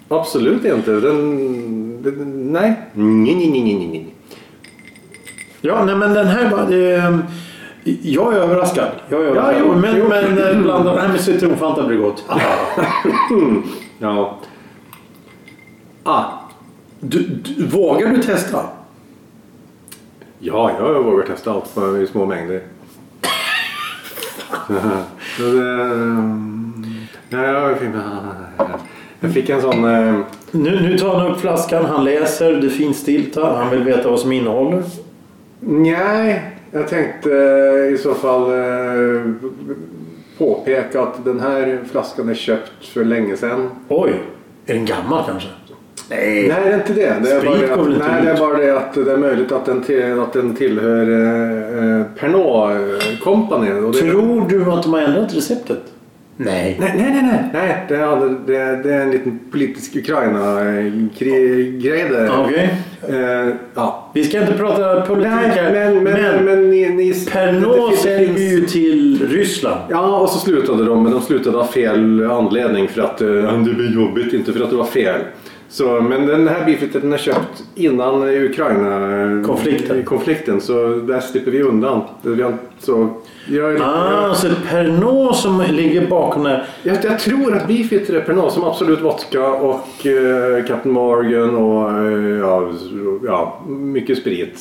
Speaker 2: Absolut inte. Den, den, nej. Nej, nej, nej, nej, nej.
Speaker 1: Ja, nej, men den här var... Eh, jag är överraskad. Jag är överraskad.
Speaker 2: jo,
Speaker 1: men
Speaker 2: jo.
Speaker 1: men eh, bland annat... Nej, men citronfanta blir gott.
Speaker 2: Ja. Ah.
Speaker 1: Du, du, vågar du testa?
Speaker 2: Ja, jag vågar testa allt på- i små mängder. Så det, ehm, nej, jag, fick, jag fick en sån... eh,
Speaker 1: Nu, nu tar han upp flaskan, han läser, det finstilta, han vill veta vad som innehåller.
Speaker 2: Nej, jag tänkte eh, i så fall eh, påpeka att den här flaskan är köpt för länge sedan.
Speaker 1: Oj, är den gammal kanske?
Speaker 2: Nej, det är inte det. Det är,
Speaker 1: Sprit
Speaker 2: bara,
Speaker 1: går väl
Speaker 2: att,
Speaker 1: inte
Speaker 2: nej, det är
Speaker 1: ut?
Speaker 2: bara det att det är möjligt att den, till, att den tillhör eh, eh, Pernod eh, Company. Och det,
Speaker 1: Tror du att de har ändrat receptet? Nej.
Speaker 2: Nej, nej, nej, nej. nej det, är, det, det är en liten politisk Ukraina-grej där.
Speaker 1: Okej.
Speaker 2: Eh, ja.
Speaker 1: Vi ska inte prata politik
Speaker 2: Nej,
Speaker 1: här.
Speaker 2: men, men, men, ni, ni,
Speaker 1: Pernod
Speaker 2: det- det
Speaker 1: säljer
Speaker 2: finns-
Speaker 1: ju till Ryssland.
Speaker 2: Ja, och så slutade de, men de slutade av fel anledning för att eh, det blev jobbigt, inte för att det var fel. Så, men den här beefet den är köpt innan eh, Ukraina eh,
Speaker 1: Konflikten.
Speaker 2: konflikten, så där slipper vi undan. Vi har, så, jag, är lite-
Speaker 1: Ah, så Pernod som ligger bakom det här.
Speaker 2: jag, jag tror att beefet är Pernod som Absolut Vodka och eh, Captain Morgan och eh, ja, ja, mycket sprit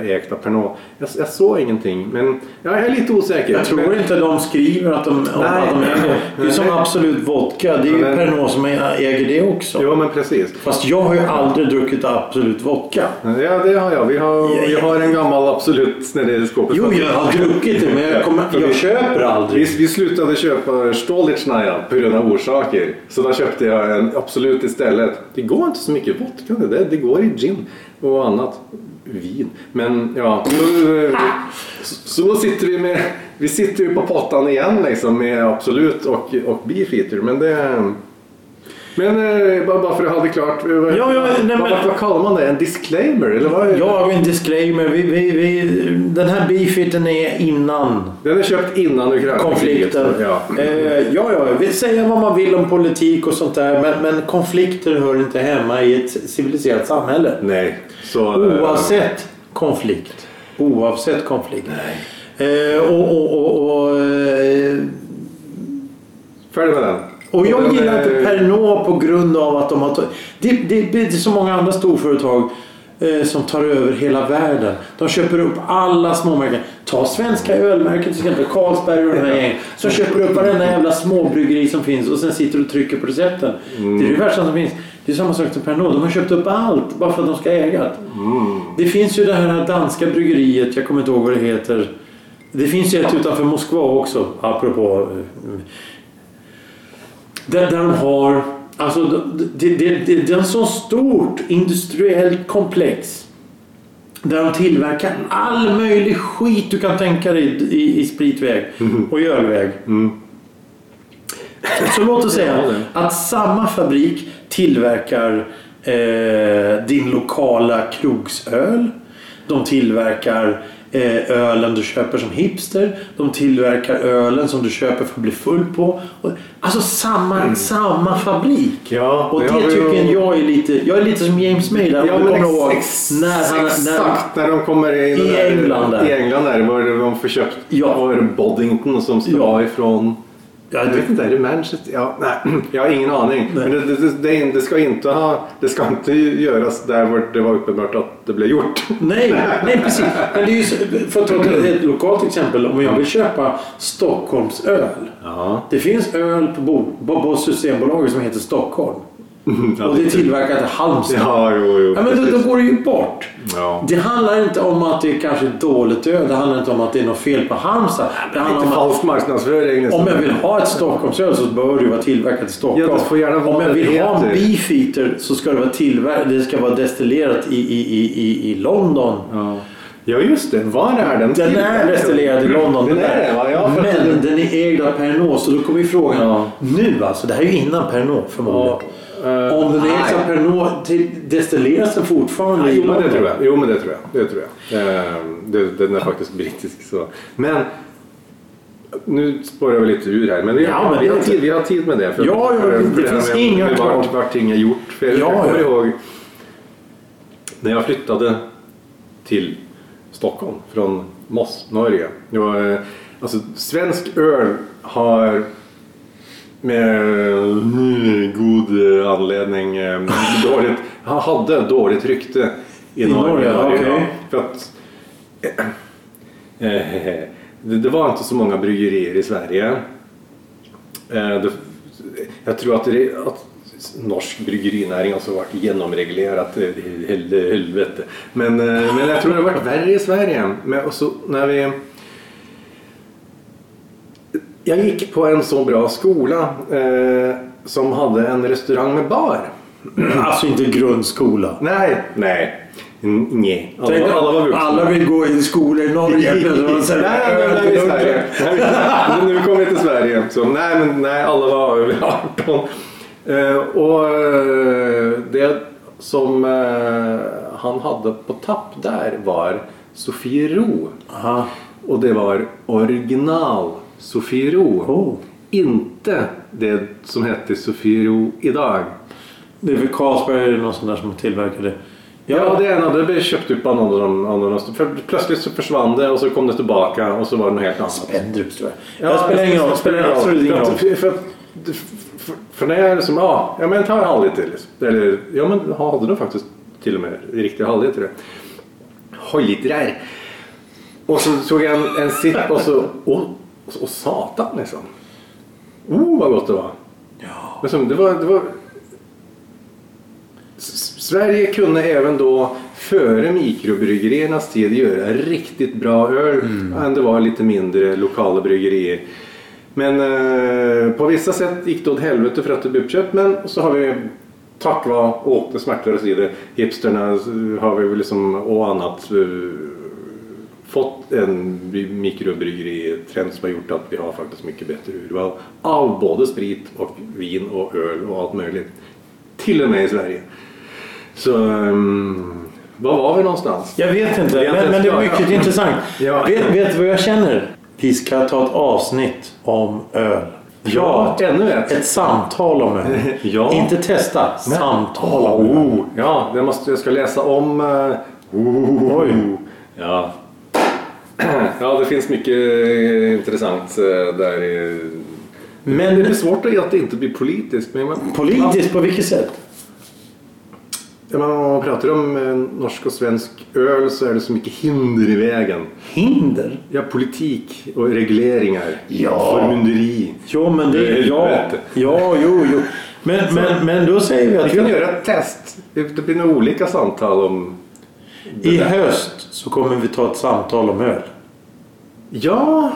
Speaker 2: eh, ägt av Pernod. Jag, jag såg ingenting, men jag är lite osäker.
Speaker 1: Jag tror
Speaker 2: men,
Speaker 1: inte de skriver att de, om
Speaker 2: Nej.
Speaker 1: att de äger. Det är som
Speaker 2: Nej.
Speaker 1: Absolut Vodka. Det är ju
Speaker 2: Men-
Speaker 1: Pernod som äger det också.
Speaker 2: Jo, men precis.
Speaker 1: Fast jag har ju aldrig druckit Absolut Vodka.
Speaker 2: Ja, det har jag. Vi har,
Speaker 1: Ja, ja.
Speaker 2: vi har en gammal Absolut nere i skåpet.
Speaker 1: Jo, jag har druckit det men jag, kommer, jag köper aldrig.
Speaker 2: Vi, vi slutade köpa Stolichnaja på grund av orsaker. Så då köpte jag en Absolut istället. Det går inte så mycket vodka det där. Det går i gin och annat. Vin. Men ja, så, så då sitter vi med... Vi sitter ju på pottan igen liksom med Absolut och, och Beefeater. Men det... Men eh, bara, bara för att ha det klart. eh, Vad,
Speaker 1: Ja, ja, nej,
Speaker 2: vad,
Speaker 1: men-
Speaker 2: vad, vad kallar man det? En disclaimer? Eller vad?
Speaker 1: Ja, en disclaimer. Vi, vi, vi, den här beefiten är innan
Speaker 2: Den är köpt innan Ukraina.
Speaker 1: konflikten.
Speaker 2: Ja.
Speaker 1: Eh, ja, ja, vi säger vad man vill om politik och sånt där men, men konflikter hör inte hemma i ett civiliserat samhälle.
Speaker 2: Nej. Så, eh,
Speaker 1: Oavsett konflikt. Oavsett konflikt. Eh, och, och, och, och, eh,
Speaker 2: Följ med den.
Speaker 1: och jag
Speaker 2: den
Speaker 1: gillar
Speaker 2: är-
Speaker 1: inte Pernod på grund av att de har tagit... Det, det, det är så många andra storföretag eh, som tar över hela världen. De köper upp alla småmärken. Ta svenska ölmärken till exempel, Carlsberg och de här gängen. Som köper upp varenda jävla småbryggeri som finns och sen sitter och trycker på recepten. Det är det värsta som finns. Det är samma sak som Pernod. De har köpt upp allt bara för att de ska äga det. Det finns ju det här danska bryggeriet, jag kommer inte ihåg vad det heter. Det finns ju ett utanför Moskva också, apropå. eh, Där, där de har, alltså det, det, det, det är en så stort industriellt komplex. Där de tillverkar all möjlig skit du kan tänka dig i, i, i spritväg
Speaker 2: Mhm.
Speaker 1: och i ölväg. Så låt oss säga
Speaker 2: Mm. Ja, det.
Speaker 1: att samma fabrik tillverkar eh, din lokala krogsöl. De tillverkar eh, ölen du köper som hipster. De tillverkar ölen som du köper för att bli full på. Och- Alltså samma, samma fabrik.
Speaker 2: Mm. Ja,
Speaker 1: och det
Speaker 2: ja, men-
Speaker 1: tycker jag är lite, jag är lite som James May där. om
Speaker 2: Ja,
Speaker 1: du
Speaker 2: men
Speaker 1: kommer
Speaker 2: ex-
Speaker 1: ihåg
Speaker 2: ex-
Speaker 1: när han... När,
Speaker 2: exakt när de kommer in
Speaker 1: I
Speaker 2: där-
Speaker 1: England där.
Speaker 2: I England där. Var det de förköpt?
Speaker 1: Ja.
Speaker 2: Var det Boddington som ska
Speaker 1: Ja.
Speaker 2: vara ifrån?
Speaker 1: Ja,
Speaker 2: Jag
Speaker 1: det-
Speaker 2: vet inte, är det Manchester? Ja, nej, jag har ingen aning.
Speaker 1: Nej.
Speaker 2: Men det, det, det, är in- det, ska inte ha, det ska inte göras där var det var uppenbart att det blev gjort.
Speaker 1: Nej, nej precis. Men det är ju, så- för att ta ett- ett lokalt exempel. Om jag vill köpa Stockholms öl.
Speaker 2: Ja.
Speaker 1: Det finns öl på, bo- på, på Systembolaget som heter Stockholm. Och det är tillverkat i Halmstad.
Speaker 2: Ja, jo, jo.
Speaker 1: Ja, men då,
Speaker 2: precis.
Speaker 1: då går det ju bort.
Speaker 2: Ja.
Speaker 1: Det handlar inte om att det är kanske är dåligt öl. Det handlar inte om att det är något fel på Halmstad. Det handlar
Speaker 2: Lite
Speaker 1: om att
Speaker 2: falsk marknadsföring liksom. nästan.
Speaker 1: om jag vill ha ett Stockholmsöl så bör det ju vara tillverkat i Stockholm.
Speaker 2: Ja, det får gärna vara
Speaker 1: om jag
Speaker 2: vad det
Speaker 1: vill ha en
Speaker 2: heter.
Speaker 1: beefeater så ska det vara, tillver- det ska vara destillerat i, i, i, i, i London.
Speaker 2: Ja. ja, just det. Var är den?
Speaker 1: Den är
Speaker 2: tillverkad?
Speaker 1: destillerad i London.
Speaker 2: Den är det, va? Ja, för att
Speaker 1: men
Speaker 2: det-
Speaker 1: den är ägd av Pernod, så då kommer ju frågan.
Speaker 2: Ja.
Speaker 1: Nu alltså, det här är ju innan Pernod förmodligen.
Speaker 2: eh,
Speaker 1: Om den ägs
Speaker 2: nej.
Speaker 1: av Pernod, till- destilleras den fortfarande i
Speaker 2: Jo men, det
Speaker 1: London?
Speaker 2: tror jag. jo men det tror jag. Det tror jag. Eh, det, den är faktiskt brittisk. Så. Men nu spårar vi lite ur här. Men vi,
Speaker 1: Ja, men
Speaker 2: vi,
Speaker 1: det
Speaker 2: har,
Speaker 1: är-
Speaker 2: tid, vi har tid med det. För,
Speaker 1: Ja, ja,
Speaker 2: för,
Speaker 1: det
Speaker 2: här
Speaker 1: finns
Speaker 2: med-
Speaker 1: inga
Speaker 2: med
Speaker 1: krav.
Speaker 2: vart, vart ting är gjort. För jag
Speaker 1: Ja,
Speaker 2: kommer
Speaker 1: ja.
Speaker 2: ihåg när jag flyttade till Stockholm från Moss, Norge. Det var, eh, alltså, svensk öl har med eh, god eh, anledning eh, dåligt, han hade dåligt rykte i,
Speaker 1: I Norge, okej.
Speaker 2: För att, eh, eh, det, det var inte så många bryggerier i Sverige. Eh, det, jag tror att, det, att norsk bryggerinäring har så varit genomreglerat eh, i hel- helvete. Men, eh, men jag tror det har varit värre i Sverige. Men, och så, när vi... Jag gick på en så bra skola eh, som hade en restaurang med bar.
Speaker 1: Alltså inte grundskola.
Speaker 2: Nej. Nej. N- Nej.
Speaker 1: Tänk
Speaker 2: Alla,
Speaker 1: om
Speaker 2: alla var vuxna.
Speaker 1: alla vill gå i en skola i Norge.
Speaker 2: Nej,
Speaker 1: men de
Speaker 2: nej,
Speaker 1: säger,
Speaker 2: nej, vi är i Sverige. Nej, vi är i Sverige. Nu kommer vi till Sverige. Så, nej, men nej, alla var över 18. Eh, och eh, det som eh, han hade på tapp där var Sofiero.
Speaker 1: Aha.
Speaker 2: Och det var original Sofiero.
Speaker 1: Oh.
Speaker 2: Inte det som hette Sofiero idag.
Speaker 1: Det är väl Carlsberg eller någon sån där som tillverkar det.
Speaker 2: Ja, det ena det blev köpt upp av någon av de, av någon av de för Plötsligt så försvann det och så kom det tillbaka och så var det något helt annat.
Speaker 1: Spendrups tror jag. Ja, det spelar ingen roll. Spelar absolut ingen roll.
Speaker 2: För, för, för, för, för när jag liksom, ja, ja men ta en halvliter till. Liksom. Eller, ja men jag hade nog faktiskt till och med riktiga halvliter. Halvlitrar. Och så tog jag en, en sipp och så, och, och satan liksom. Oh vad gott det var.
Speaker 1: Ja.
Speaker 2: Men som, det var, det var... S- Sverige kunde även då före mikrobryggeriernas tid göra riktigt bra öl än det var lite mindre lokala bryggerier. Men eh, på vissa sätt gick det åt helvete för att det blev uppköpt men så har vi tack vare, åh det smärtar att säga det, hipsterna eh, har vi väl liksom och annat eh, fått en mikrobryggeritrend som har gjort att vi har faktiskt mycket bättre urval av både sprit och vin och öl och allt möjligt. Till och med i Sverige. Så ehm, var var vi någonstans?
Speaker 1: Jag vet inte,
Speaker 2: Det är
Speaker 1: men, men det är
Speaker 2: inte-
Speaker 1: mycket
Speaker 2: ja.
Speaker 1: intressant.
Speaker 2: Ja.
Speaker 1: Vet, vet du vad jag känner? Vi ska ta ett avsnitt om öl.
Speaker 2: Ja, ännu ett.
Speaker 1: Ett samtal om öl.
Speaker 2: Ja.
Speaker 1: Inte testa, samtal
Speaker 2: Åh,
Speaker 1: om öl.
Speaker 2: oh, ja, jag, måste, jag ska läsa om... eh, oh,
Speaker 1: Oj.
Speaker 2: Ja. ja, det finns mycket eh, intressant eh, där. eh. Det
Speaker 1: Men
Speaker 2: är svårt att inte bli politisk. Men man,
Speaker 1: politiskt, på vilket sätt?
Speaker 2: Ja, men om man pratar om eh, norsk och svensk öl så är det så mycket hinder i vägen.
Speaker 1: Hinder?
Speaker 2: Ja, politik och regleringar.
Speaker 1: Ja.
Speaker 2: Förmynderi.
Speaker 1: Jo, men det...
Speaker 2: Nej,
Speaker 1: Ja,
Speaker 2: helvete.
Speaker 1: ja jo, jo. Men, men, men då säger vi
Speaker 2: Vi
Speaker 1: att
Speaker 2: kan göra ett test. Det blir nog olika samtal om...
Speaker 1: i höst så kommer vi ta ett samtal om öl.
Speaker 2: Ja,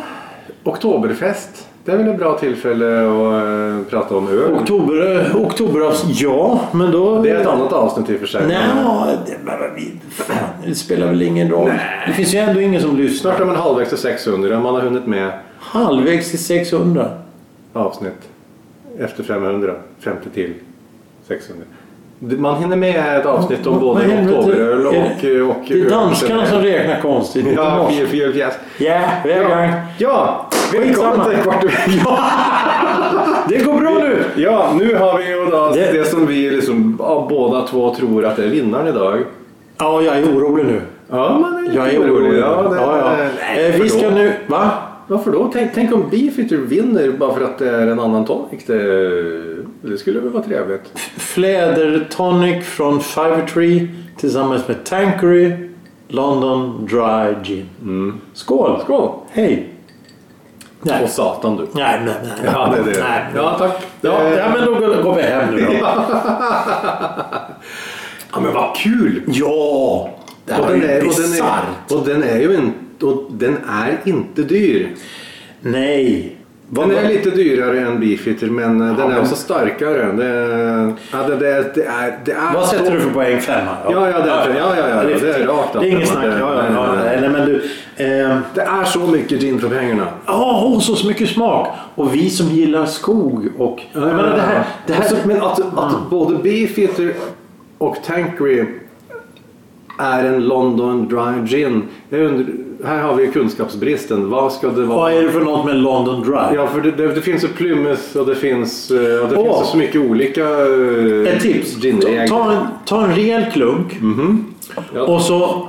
Speaker 2: Oktoberfest. Det är väl ett bra tillfälle att eh, prata om öl.
Speaker 1: Oktober, oktoberavsnitt, ja, men då...
Speaker 2: Det är ett annat avsnitt i och för sig.
Speaker 1: Nej, det, men vad vi- fan, det spelar väl ingen roll. Det finns ju ändå ingen som lyssnar.
Speaker 2: Snart är man halvvägs till 600. Man har hunnit med
Speaker 1: Halvvägs till 600.
Speaker 2: avsnitt. Efter 500. 50 till 600. Det- Man hinner med ett avsnitt om
Speaker 1: Vad- vad
Speaker 2: både
Speaker 1: helvete?
Speaker 2: oktoberöl och,
Speaker 1: Är
Speaker 2: och, och
Speaker 1: Det är
Speaker 2: öl.
Speaker 1: danskarna som räknar konstigt. inte
Speaker 2: Ja,
Speaker 1: norsk.
Speaker 2: fyra, fyra, fjäs.
Speaker 1: Ja, vi är igång.
Speaker 2: Ja,
Speaker 1: Skitsamma.
Speaker 2: välkommen till Kvart i veckan.
Speaker 1: Det går bra nu!
Speaker 2: Ja, nu har vi ju då
Speaker 1: Det-
Speaker 2: det, som vi liksom, ja, båda två tror att är vinnaren idag.
Speaker 1: Ja, jag är orolig nu.
Speaker 2: Ja, man är
Speaker 1: Jag är
Speaker 2: lite
Speaker 1: orolig.
Speaker 2: Ja, det,
Speaker 1: ja, ja.
Speaker 2: Nej,
Speaker 1: Eh, Vi
Speaker 2: varför
Speaker 1: ska
Speaker 2: då?
Speaker 1: nu... Va?
Speaker 2: Varför då? Tänk, tänk om Beefeater vinner bara för att det är en annan tonic. Det, det skulle väl vara trevligt.
Speaker 1: Fläder Tonic från Fivertree tillsammans med Tankery London Dry Gin. Skål!
Speaker 2: Mm. Skål!
Speaker 1: Hej! Nej,
Speaker 2: Och satan du.
Speaker 1: nej, nej. nej.
Speaker 2: Ja, det är det.
Speaker 1: Nej.
Speaker 2: Ja, tack.
Speaker 1: Ja,
Speaker 2: Eh,
Speaker 1: ja, men då går, går vi hem nu då.
Speaker 2: ja, men vad kul!
Speaker 1: Ja! Det här
Speaker 2: Och
Speaker 1: var
Speaker 2: den, är,
Speaker 1: ju
Speaker 2: och, den
Speaker 1: bisarrt.
Speaker 2: är, och den är ju en, och den är inte dyr.
Speaker 1: Nej. Vad-
Speaker 2: Den är lite dyrare än Beefeater men eh, den är
Speaker 1: men-
Speaker 2: också starkare. Det, är- ja, det, det, det är, det är
Speaker 1: Vad sätter
Speaker 2: så-
Speaker 1: du för poäng? Femma?
Speaker 2: Ja, ja, det är- ja, ja, ja, det är rakt
Speaker 1: Det är inget
Speaker 2: att-
Speaker 1: snack. Ja, ja,
Speaker 2: nej,
Speaker 1: ja,
Speaker 2: nej,
Speaker 1: nej, nej, men du. ehm,
Speaker 2: Det är så mycket gin för pengarna.
Speaker 1: Ja, och så så mycket smak. Och vi som gillar skog och... Jag menar, det här, det här,
Speaker 2: Alltså, men att, att både Beefeater och Tankery är en London Dry Gin. Jag undrar, här har vi ju kunskapsbristen. Vad ska det vara?
Speaker 1: vad är det för något med London Dry?
Speaker 2: Ja, för det, det, det finns ju Plymouth och det finns, eh, och det
Speaker 1: Åh.
Speaker 2: finns ju så mycket olika eh,
Speaker 1: Ett tips. Ta,
Speaker 2: ginregler.
Speaker 1: ta, en, ta en rejäl klunk
Speaker 2: Ja.
Speaker 1: och så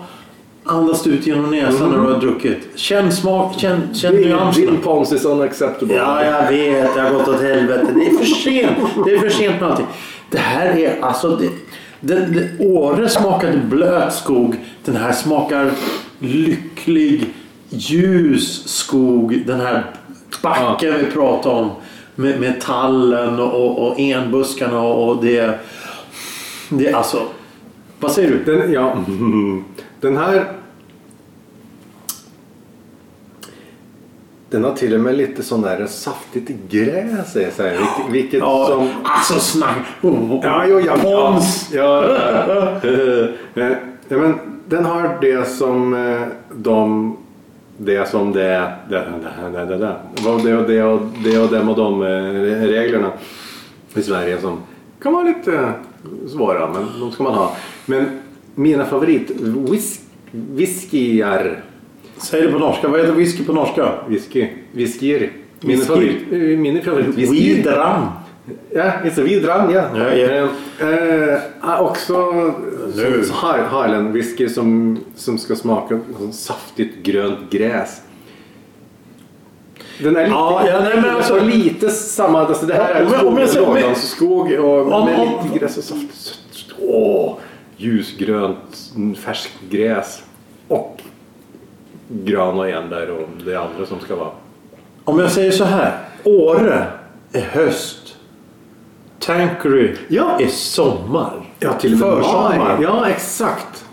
Speaker 1: andas ut genom näsan när du har druckit. Känn smak, känn, känn
Speaker 2: Gin- Gin
Speaker 1: nyanserna.
Speaker 2: Ponce is unacceptable.
Speaker 1: Ja, jag vet. Det har gått åt helvete. Det är för sent. Det är för sent med allting. Det här är alltså... Det, den, det, Åre smakade blöt skog. Den här smakar lycklig, ljus skog. Den här backen vi pratade om med, med tallen och, och enbuskarna och det... Det är alltså... Vad säger du?
Speaker 2: Den, ja. mhm. den här... Den har till och med lite sån där saftigt gräs i sig. Vilket, vilket
Speaker 1: Ja,
Speaker 2: som...
Speaker 1: Alltså snack! Oh,
Speaker 2: Ja, jo, ja,
Speaker 1: Pons!
Speaker 2: Ja, ja, ja. Eh, ja, men den har det som eh, de... Det som det... Det, det, det, det, det. Vad det och det och det och dem och de eh, reglerna i Sverige som kan vara lite eh, svåra, men de ska man ha. Men mina favorit whisk, whiskyer.
Speaker 1: Säg det på norska. Vad heter whisky på norska?
Speaker 2: Whisky. Whiskyer. Mina
Speaker 1: Whisky.
Speaker 2: favorit, eh, mina favorit whiskyer.
Speaker 1: Widram.
Speaker 2: Ja, inte vidran, ja.
Speaker 1: Ja, ja.
Speaker 2: Eh, eh, också
Speaker 1: Nu.
Speaker 2: som- har- Harlan whisky som, som ska smaka som saftigt grönt gräs. Den är lite,
Speaker 1: Ja, ja, nej, men
Speaker 2: den är
Speaker 1: alltså-
Speaker 2: lite samma. Alltså det här är
Speaker 1: Om jag- om jag säger-
Speaker 2: skog, om, skog och
Speaker 1: Om-
Speaker 2: med
Speaker 1: om-
Speaker 2: lite gräs och saft. sött- Åh, ljusgrönt, mm, färskt gräs och grön och enbär och det andra som ska vara.
Speaker 1: Om jag säger så här. Åre är höst. Tankery
Speaker 2: Ja.
Speaker 1: är sommar.
Speaker 2: Ja, till och med
Speaker 1: Försommar.
Speaker 2: maj. Ja, exakt.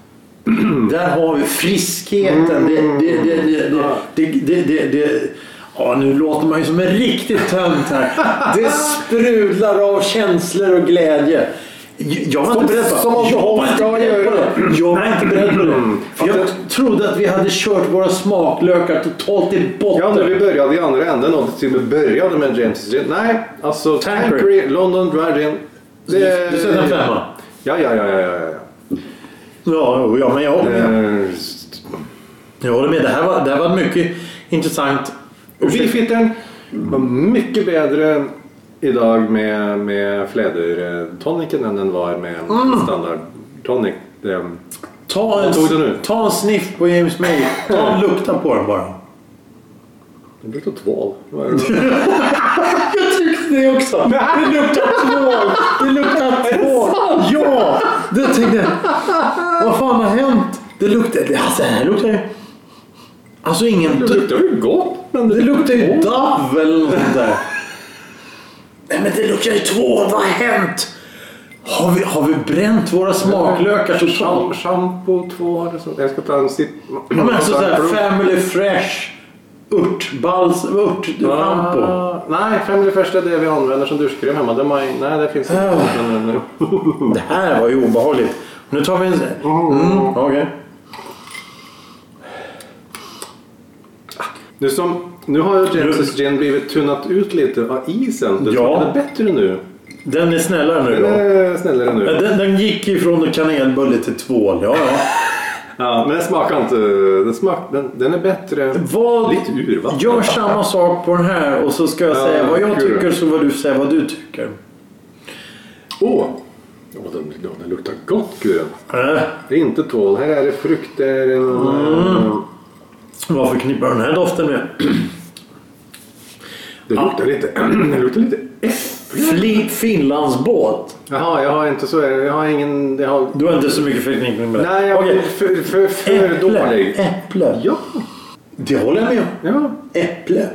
Speaker 1: Där har vi friskheten.
Speaker 2: Mm.
Speaker 1: Det, det, det, det, det, det, det, det, det. Ja, nu låter man ju som en riktig tönt här. Det sprudlar av känslor och glädje. Jag var inte beredd på
Speaker 2: Som
Speaker 1: det.
Speaker 2: man
Speaker 1: Jag var inte
Speaker 2: ska
Speaker 1: beredd på
Speaker 2: göra.
Speaker 1: det. Jag var inte beredd på
Speaker 2: Mm.
Speaker 1: det. För jag trodde att vi hade kört våra smaklökar totalt i
Speaker 2: Ja, när vi
Speaker 1: botten.
Speaker 2: började i andra änden och till och med började med James gin. Nej, alltså
Speaker 1: Tanqueray.
Speaker 2: Tanqueray, London Dry Gin.
Speaker 1: Du- du sätter en femma.
Speaker 2: Eh, Ja, ja, ja, ja, ja. ja.
Speaker 1: Ja, jo, ja men jag håller med.
Speaker 2: Eh,
Speaker 1: Jag håller med. Det här var, det här var mycket intressant.
Speaker 2: Villfittern var mycket bättre idag med, med flädertoniken än den var med standard tonic. Det, eh,
Speaker 1: Ta en,
Speaker 2: Vad tog du nu?
Speaker 1: ta en sniff på James May. Ta en lukta på den bara.
Speaker 2: det luktar tvål. Vad är det?
Speaker 1: Jag tyckte det också. Det luktar tvål. Det luktar tvål. Ja! Det tänkte jag. Vad fan har hänt? Det luktar... det- Alltså det här luktar ju... Alltså ingen...
Speaker 2: Det luktar ju gott. Men
Speaker 1: Det luktar ju
Speaker 2: tvål.
Speaker 1: dav eller något sånt där. Nej men det luktar ju tvål. Vad har hänt? Har vi, har vi bränt våra smaklökar
Speaker 2: Cham-
Speaker 1: totalt?
Speaker 2: Alltså, Shampoo, tvål och sånt. Jag ska ta en sitt.
Speaker 1: Ja, men alltså såhär Family Fresh. Örtbals... Örtschampo.
Speaker 2: Ah, nej, Family First är det vi använder som duschkräm hemma. Det man, nej, det finns inte. Men, men,
Speaker 1: Det här var ju obehagligt. Nu tar vi en... Mm, okej.
Speaker 2: nu, som, nu har ju James' gin blivit tunnat ut lite av isen. Det
Speaker 1: Ja.
Speaker 2: smakade bättre nu.
Speaker 1: Den är snällare nu
Speaker 2: Den
Speaker 1: då.
Speaker 2: är snällare nu.
Speaker 1: Den, den gick ju från kanelbulle till tvål. Ja, ja.
Speaker 2: Ja, men den smakar inte... Den, smak, den, den är bättre.
Speaker 1: Vad,
Speaker 2: Lite urvattnad.
Speaker 1: gör samma sak på den här och så ska jag
Speaker 2: Ja,
Speaker 1: säga vad jag
Speaker 2: kul.
Speaker 1: tycker så vad du säger vad du tycker.
Speaker 2: Åh! Åh, den, den luktar gott, kuren.
Speaker 1: Äh,
Speaker 2: Det är inte tvål. Här är det frukter. Mm.
Speaker 1: vad förknippar den här doften med?
Speaker 2: Det luktar lite... det luktar lite äpple.
Speaker 1: Fli, Finlandsbåt.
Speaker 2: Jaha, jag har inte så... Jag har ingen... Jag har,
Speaker 1: Du har inte så mycket förknippning med det.
Speaker 2: nej, jag
Speaker 1: Okej.
Speaker 2: är för, för, för
Speaker 1: Äpple.
Speaker 2: dålig.
Speaker 1: Äpple.
Speaker 2: Ja,
Speaker 1: Det håller jag med om.
Speaker 2: ja.
Speaker 1: Äpple.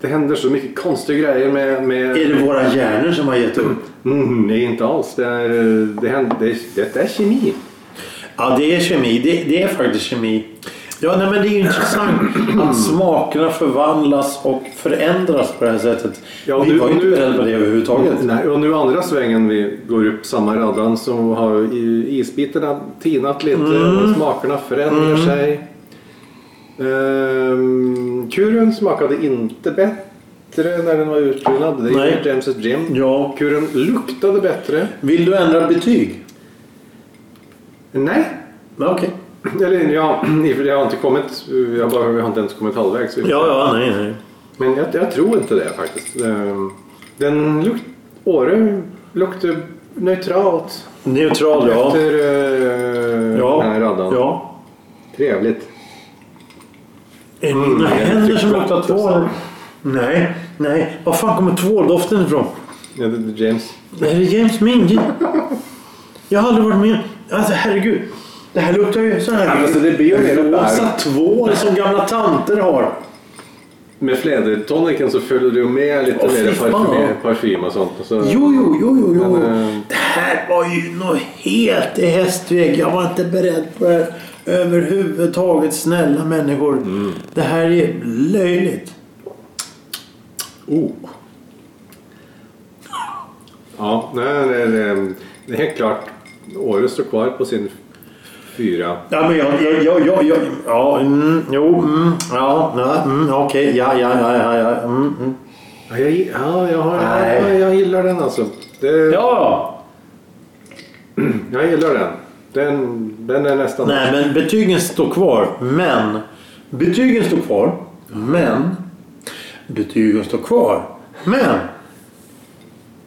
Speaker 2: Det händer så mycket konstiga grejer med... med...
Speaker 1: Är det våra hjärnor som har gett upp?
Speaker 2: Mm, nej, inte alls. Det är, eh, det händer, det, detta är kemi.
Speaker 1: Ja, det är kemi. Det, det är faktiskt kemi. Ja, nej, men det är ju intressant att smakerna förvandlas och förändras på det här sättet.
Speaker 2: Ja,
Speaker 1: Vi
Speaker 2: du-
Speaker 1: var ju inte
Speaker 2: nu-
Speaker 1: beredda på det överhuvudtaget.
Speaker 2: Nej, och nu andra svängen vi går upp samma raddan så har i- isbitarna tinat lite
Speaker 1: Mm.
Speaker 2: och smakerna förändrar sig. Ehm, kuren smakade inte bättre när den var utrullad. Det
Speaker 1: Nej.
Speaker 2: är ju James' Jim.
Speaker 1: Ja.
Speaker 2: Kuren luktade bättre.
Speaker 1: Vill du ändra betyg?
Speaker 2: Nej.
Speaker 1: Ja, okej.
Speaker 2: Eller ja, jag har inte kommit. Jag, bara, jag har inte ens kommit halvvägs.
Speaker 1: Ja, ja, nej, nej.
Speaker 2: Men jag, jag tror inte det faktiskt. Ehm, Den lukt... Åre luktar neutralt.
Speaker 1: Neutral, ja.
Speaker 2: Efter eh,
Speaker 1: Ja.
Speaker 2: den här raddan.
Speaker 1: ja.
Speaker 2: Trevligt.
Speaker 1: Är det mina
Speaker 2: Mm, jag
Speaker 1: händer som
Speaker 2: tycker
Speaker 1: luktar
Speaker 2: att det är
Speaker 1: tvål?
Speaker 2: sant.
Speaker 1: Nej, nej. Var fan kommer tvåldoften ifrån?
Speaker 2: Ja, det- det- James.
Speaker 1: Det här är James Mingy. Jag har aldrig varit med. Alltså herregud. Det här luktar ju så här.
Speaker 2: Alltså, det blir ju mer
Speaker 1: rosa
Speaker 2: varmt.
Speaker 1: tvål som gamla tanter har.
Speaker 2: Med flädertoniken så följer du med lite
Speaker 1: Åh, fy
Speaker 2: mer
Speaker 1: fan.
Speaker 2: parfym, parfym och sånt. Och så,
Speaker 1: Jo, jo, jo, jo, jo.
Speaker 2: Men, eh,
Speaker 1: Det här var ju något helt i hästväg. Jag var inte beredd på det här överhuvudtaget. Snälla människor. Det här är löjligt.
Speaker 2: Oh. Ja, nej, nej, nej. Det är helt klart. Åre står kvar på sin fyra.
Speaker 1: Ja, men jag... jag, jag, jag, jag ja, mm, jo, mm, ja, nej, mm, okej, ja, ja, ja, ja, ja, mm, mm.
Speaker 2: Ja, jag, ja, jag, har,
Speaker 1: Nej.
Speaker 2: ja, jag gillar den alltså. Det,
Speaker 1: Ja!
Speaker 2: Jag gillar den. Den, den är nästan...
Speaker 1: Nej, men betygen står kvar. Men. Betygen står kvar. Men. Betygen står kvar. Men.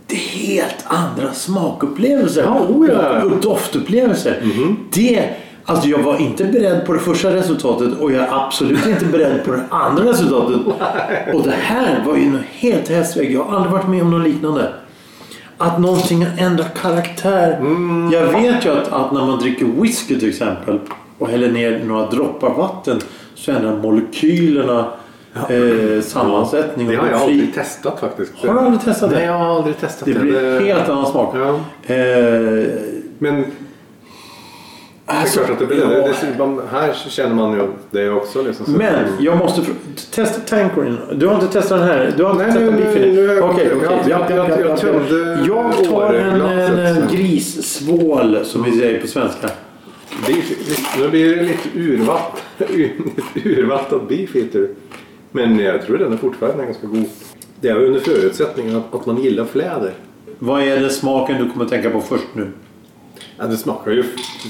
Speaker 1: Det är helt andra smakupplevelser.
Speaker 2: Ja, oh ja. Mhm.
Speaker 1: Och doftupplevelser. Det, alltså jag var inte beredd på det första resultatet och jag är absolut inte beredd på det andra resultatet. Och det här var ju något helt hästväg. Jag har aldrig varit med om något liknande. Att någonting har ändrat karaktär.
Speaker 2: Mm.
Speaker 1: Jag vet ju att, att när man dricker whisky till exempel och häller ner några droppar vatten så ändrar molekylerna eh, sammansättning.
Speaker 2: Det
Speaker 1: och
Speaker 2: har jag
Speaker 1: blir
Speaker 2: aldrig testat faktiskt.
Speaker 1: Har du aldrig testat
Speaker 2: Nej,
Speaker 1: det?
Speaker 2: jag har aldrig testat
Speaker 1: Det
Speaker 2: det.
Speaker 1: Eh, blir helt annan smak.
Speaker 2: Ja.
Speaker 1: Eh,
Speaker 2: Men det är klart att det blir det. det, man, här känner man ju det också. Liksom, så-
Speaker 1: Men jag måste fr- testa tankorin. Du har inte testat den här? Du har inte
Speaker 2: Nej,
Speaker 1: testat
Speaker 2: nej, nej,
Speaker 1: biffen?
Speaker 2: nu har jag-
Speaker 1: Okej,
Speaker 2: jag-
Speaker 1: okej.
Speaker 2: jag-
Speaker 1: Japp, japp,
Speaker 2: jag- jag
Speaker 1: japp,
Speaker 2: tömde
Speaker 1: japp. Jag tar en, en, en
Speaker 2: åreglaset.
Speaker 1: grissvål som vi säger på svenska.
Speaker 2: Det är- Nu blir det lite urvatt, urvattad beefeater. Men jag tror den är fortfarande ganska god. Det är under förutsättningen att, att man gillar fläder.
Speaker 1: Vad är det smaken du kommer att tänka på först nu?
Speaker 2: Ja, det smakar ju... det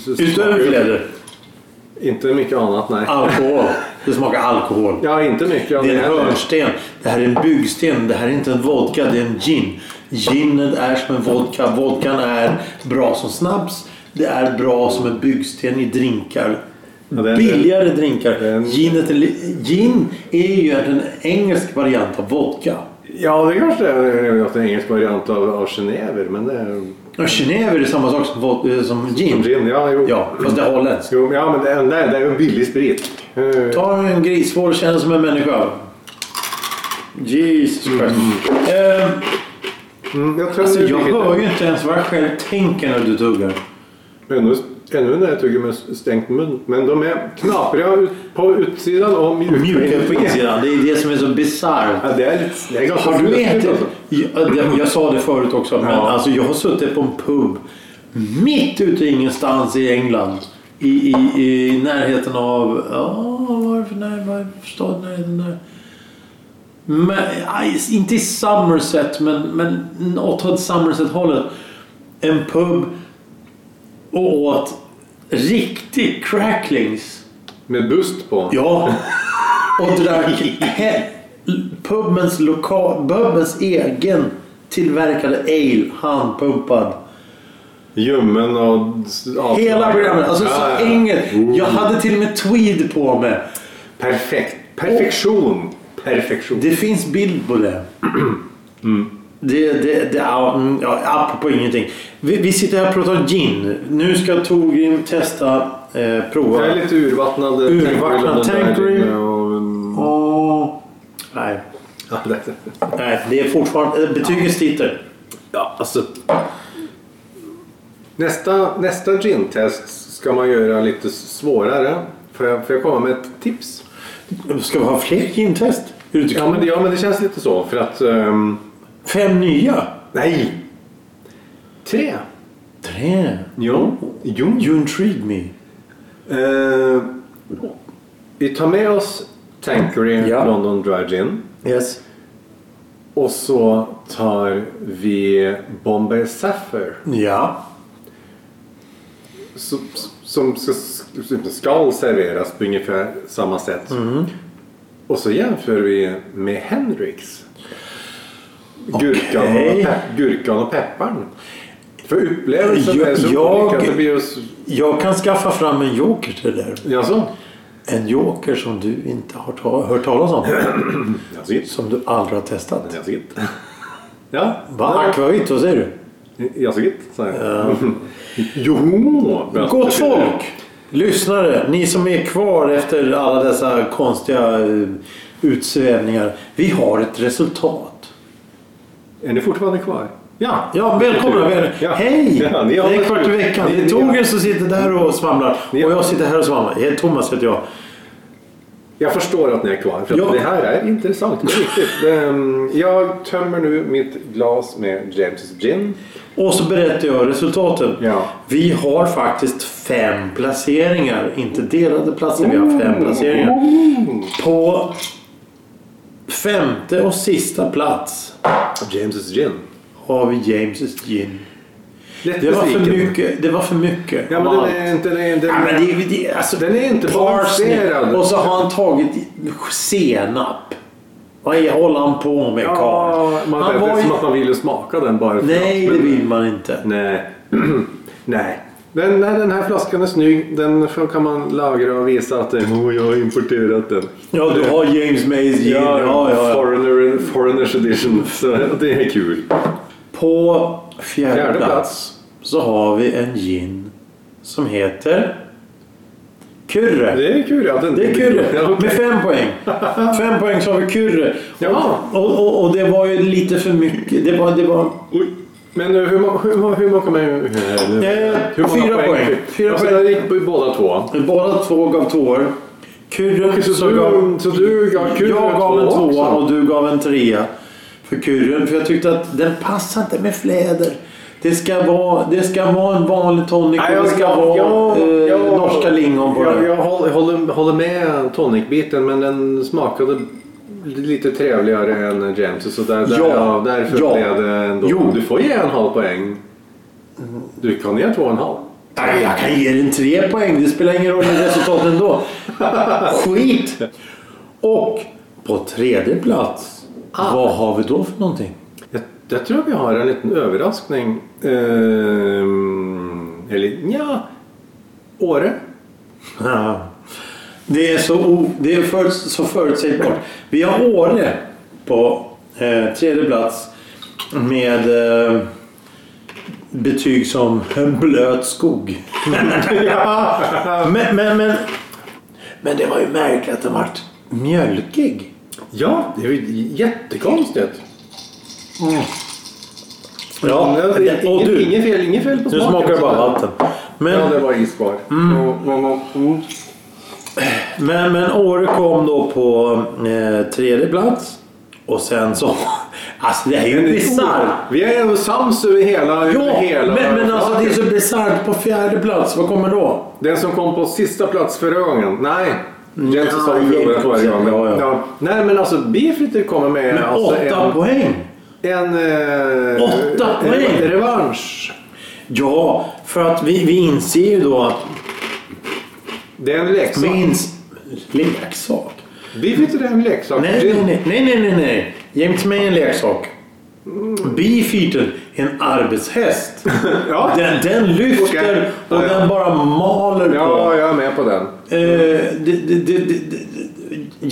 Speaker 2: smakar
Speaker 1: Utöver
Speaker 2: ju-
Speaker 1: fläder? Ah,
Speaker 2: Inte mycket annat, nej.
Speaker 1: Alkohol. Det smakar alkohol.
Speaker 2: Ja, inte mycket av
Speaker 1: Det är en
Speaker 2: heller.
Speaker 1: hörnsten. Det här är en byggsten. Det här är inte en vodka, det är en gin. Ginen är som en vodka. Vodkan är bra som snaps. Det är bra som en byggsten i drinkar.
Speaker 2: Ja, det är-
Speaker 1: Billigare drinkar.
Speaker 2: det är en-
Speaker 1: Ginet är li- gin är ju egentligen en engelsk variant av vodka.
Speaker 2: Ja, det kanske är att en engelsk variant av, av genever, men det är...
Speaker 1: Och Genever är samma sak som, vod- eh, som gin.
Speaker 2: Gin, ja, jo.
Speaker 1: Ja, fast det är holländskt.
Speaker 2: Jo, men ja, men det är, nej, det är ju billig sprit. Eh,
Speaker 1: Ta en grisvår och känn som en människa. Jesus Christ. Eh,
Speaker 2: Mm, jag tror
Speaker 1: alltså,
Speaker 2: det är
Speaker 1: Mm. jag
Speaker 2: billigt.
Speaker 1: hör ju inte ens vad jag själv tänker när du tuggar.
Speaker 2: Ännu, ännu när jag tuggar med stängt mun. Men de är knapriga ut, på utsidan och mjuka,
Speaker 1: Mjuka på insidan. Det är det som är så bisarrt.
Speaker 2: Ja, det är lite... Det är ganska
Speaker 1: Har du
Speaker 2: snuskigt
Speaker 1: ätit?
Speaker 2: alltså.
Speaker 1: Ja, det- Jag sa det förut också, men
Speaker 2: Ja.
Speaker 1: alltså jag har suttit på en pub mitt ute i ingenstans i England. I, i, i närheten av... Ja, vad är det för när, vad är det för stad närheten där? Men, aj, inte i Somerset, men, men åt åt Somerset-hållet. En pub och åt riktigt cracklings.
Speaker 2: Med bust på.
Speaker 1: Ja. Och drack he- pubens, loka- pubens egen tillverkade ale handpumpad.
Speaker 2: Ljummen och... s-
Speaker 1: Hela
Speaker 2: avslagen.
Speaker 1: programmet. Alltså
Speaker 2: Ja,
Speaker 1: så
Speaker 2: ja.
Speaker 1: enkelt. Jag hade till och med tweed på mig.
Speaker 2: Perfekt. Perfektion. Perfektion.
Speaker 1: Det finns bild på det.
Speaker 2: Mm.
Speaker 1: Det, det, det ja, mm, ja, apropå ingenting. Vi, vi sitter här och pratar om gin. Nu ska Torgrim testa, eh, prova.
Speaker 2: Jag är lite urvattnad. eh,
Speaker 1: Urvattnad Tanqueray.
Speaker 2: Och...
Speaker 1: Och, nej,
Speaker 2: Ja, det-
Speaker 1: nej, det är fortfarande... eh, Betyget sitter.
Speaker 2: Ja, alltså. Nästa, nästa gin-test ska man göra lite svårare. Får jag, får jag komma med ett tips?
Speaker 1: Ska vi ha fler gintest? Är du inte
Speaker 2: Ja
Speaker 1: klar?
Speaker 2: men, det- ja, men det känns lite så. För att... ehm,
Speaker 1: Fem nya?
Speaker 2: nej! Tre.
Speaker 1: Tre?
Speaker 2: Jo. Jo.
Speaker 1: You intrigue me.
Speaker 2: Eh, vi tar med oss Tanqueray
Speaker 1: Ja.
Speaker 2: London Dry Gin.
Speaker 1: Yes.
Speaker 2: Och så tar vi Bombay Sapphire.
Speaker 1: Ja.
Speaker 2: som, som ska, ska serveras på ungefär samma sätt.
Speaker 1: Mm.
Speaker 2: Och så jämför vi med Hendrix. Gurkan,
Speaker 1: Okej.
Speaker 2: och pep, gurkan och pepparn. För upplevelsen är så
Speaker 1: Jag-
Speaker 2: olika. att Det blir just,
Speaker 1: Jag kan skaffa fram en joker till det där.
Speaker 2: alltså,
Speaker 1: En joker som du inte har ta- hört talas om.
Speaker 2: alltså, inte.
Speaker 1: Som du aldrig har testat.
Speaker 2: Alltså, inte. Ja,
Speaker 1: Va? Akvavit, vad säger du?
Speaker 2: Jag såg inte. Så här. Jo!
Speaker 1: Mm.
Speaker 2: typ.
Speaker 1: Gott folk! Lyssnare, ni som är kvar efter alla dessa konstiga eh, utsvävningar. Vi har ett resultat.
Speaker 2: Är ni fortfarande kvar? Ja,
Speaker 1: Ja, välkomna! Väl.
Speaker 2: Ja.
Speaker 1: Hej!
Speaker 2: Ja, ni
Speaker 1: det
Speaker 2: har
Speaker 1: är
Speaker 2: varit
Speaker 1: kvart i
Speaker 2: ut.
Speaker 1: veckan.
Speaker 2: Ni-
Speaker 1: Det är
Speaker 2: ni-
Speaker 1: Torgren som sitter där och svamlar. Och
Speaker 2: Ni-
Speaker 1: jag sitter här och svamlar. Jag är Thomas heter jag.
Speaker 2: Jag förstår att ni är kvar, för
Speaker 1: Ja.
Speaker 2: att det här är intressant på riktigt. Ehm, Jag tömmer nu mitt glas med James gin.
Speaker 1: Och så berättar jag resultaten.
Speaker 2: Ja.
Speaker 1: Vi har faktiskt fem placeringar. Inte delade platser, vi har fem placeringar.
Speaker 2: Mm.
Speaker 1: På femte och sista plats
Speaker 2: James gin.
Speaker 1: har vi James gin.
Speaker 2: Lätt
Speaker 1: Det var för
Speaker 2: besviken.
Speaker 1: mycket. Det var för mycket.
Speaker 2: Ja, men
Speaker 1: av
Speaker 2: den
Speaker 1: allt.
Speaker 2: är inte... Den är,
Speaker 1: Ja, men
Speaker 2: den,
Speaker 1: det, det, alltså,
Speaker 2: den är inte
Speaker 1: Parsnip.
Speaker 2: balanserad.
Speaker 1: Och så har han tagit senap. Vad är- håller han på med
Speaker 2: Ja,
Speaker 1: karln?
Speaker 2: man,
Speaker 1: Han
Speaker 2: det
Speaker 1: var
Speaker 2: är
Speaker 1: ju-
Speaker 2: som att man ville smaka den bara för
Speaker 1: Nej,
Speaker 2: att,
Speaker 1: det
Speaker 2: men-
Speaker 1: vill man inte.
Speaker 2: Nej. Nej. Den, nej, den här flaskan är snygg. Den får- kan man lagra och visa att eh, oh, jag har importerat den.
Speaker 1: Ja, du har James Mays gin. Ja, ja, ja.
Speaker 2: Foreigner, foreigners edition. Så det är kul.
Speaker 1: På fjärde,
Speaker 2: Fjärde
Speaker 1: plats,
Speaker 2: plats.
Speaker 1: så har vi en gin som heter Kurre.
Speaker 2: Det är kul. Ja, den,
Speaker 1: Det är
Speaker 2: Ja,
Speaker 1: Kurre
Speaker 2: okej.
Speaker 1: med fem poäng. Fem poäng så har vi Kurre.
Speaker 2: Ja.
Speaker 1: Och, och, och det var ju lite för mycket. Det var, det var
Speaker 2: Oj. Men eh, hur, må- hur, må- hur många kommer... Eh, hur många
Speaker 1: fyra poäng.
Speaker 2: fick-
Speaker 1: Fyra
Speaker 2: alltså,
Speaker 1: poäng.
Speaker 2: Det gick på båda två.
Speaker 1: Båda två gav tvåor. Kurren
Speaker 2: Okej, så
Speaker 1: som
Speaker 2: du-
Speaker 1: gav,
Speaker 2: så du gav Kurren
Speaker 1: Jag gav en
Speaker 2: tvåa också?
Speaker 1: tvåa och du gav en trea för kurren. För jag tyckte att den passar inte med fläder. Det ska vara, det ska vara en vanlig tonic och det ska vara eh, norska lingon på
Speaker 2: jag,
Speaker 1: den.
Speaker 2: jag håller, håller- håller med tonicbiten men den smakade lite trevligare än James. Så där, där,
Speaker 1: Ja,
Speaker 2: ja, därför
Speaker 1: ja.
Speaker 2: blev det ändå...
Speaker 1: Jo.
Speaker 2: Du får ge en halv poäng. Du kan ge två och en halv.
Speaker 1: Nej, jag kan ge den tre poäng. Det spelar ingen roll i resultatet ändå. Skit! Och på tredje plats,
Speaker 2: Ah.
Speaker 1: vad har vi då för någonting?
Speaker 2: Jag, jag tror vi har en liten överraskning. Ehm, eller ja, Åre.
Speaker 1: Ja. Det är, så, o- det är för, så förutsägbart. Vi har Åre på eh, tredje plats med eh, betyg som en blöt skog. men, men, men, men det var ju märkligt att den vart mjölkig.
Speaker 2: Ja, det är ju jättekonstigt.
Speaker 1: Ja,
Speaker 2: Men det-
Speaker 1: det- och
Speaker 2: inget,
Speaker 1: du,
Speaker 2: inget fel, inget fel på
Speaker 1: nu
Speaker 2: smaken.
Speaker 1: smakar det bara
Speaker 2: sådär.
Speaker 1: vatten. Men, Mm.
Speaker 2: Ja, det var is kvar. Och- Mm. och- och-
Speaker 1: Men, men Åre kom då på eh, tredje plats. Och sen så... Alltså det här är ju bisarrt!
Speaker 2: Vi är ju sams över hela... över
Speaker 1: Ja,
Speaker 2: hela
Speaker 1: men, men alltså det är så bisarrt. På fjärde plats, vad kommer då?
Speaker 2: Den som kom på sista plats förra gången. Nej. James
Speaker 1: Ja,
Speaker 2: sa vi förlorade
Speaker 1: James,
Speaker 2: förra gången.
Speaker 1: ja, ja.
Speaker 2: Nej, men alltså Beefritter kommer med
Speaker 1: Men
Speaker 2: alltså,
Speaker 1: åtta
Speaker 2: en,
Speaker 1: poäng!
Speaker 2: en, eh,
Speaker 1: Åtta poäng!
Speaker 2: en revansch.
Speaker 1: Ja, för att vi, vi inser ju då att...
Speaker 2: Det är en
Speaker 1: Vi
Speaker 2: leksak.
Speaker 1: ins... Leksak?
Speaker 2: Beefritter är en leksak.
Speaker 1: Nej,
Speaker 2: Det-
Speaker 1: nej, nej, nej, nej, nej, nej. James May är en leksak.
Speaker 2: Mm.
Speaker 1: Beefeater är en arbetshäst.
Speaker 2: Ja.
Speaker 1: Den, den lyfter
Speaker 2: Okej.
Speaker 1: och
Speaker 2: Ja, ja.
Speaker 1: den bara maler på.
Speaker 2: ja, jag är med på den.
Speaker 1: Eh, det, det, det, det, det-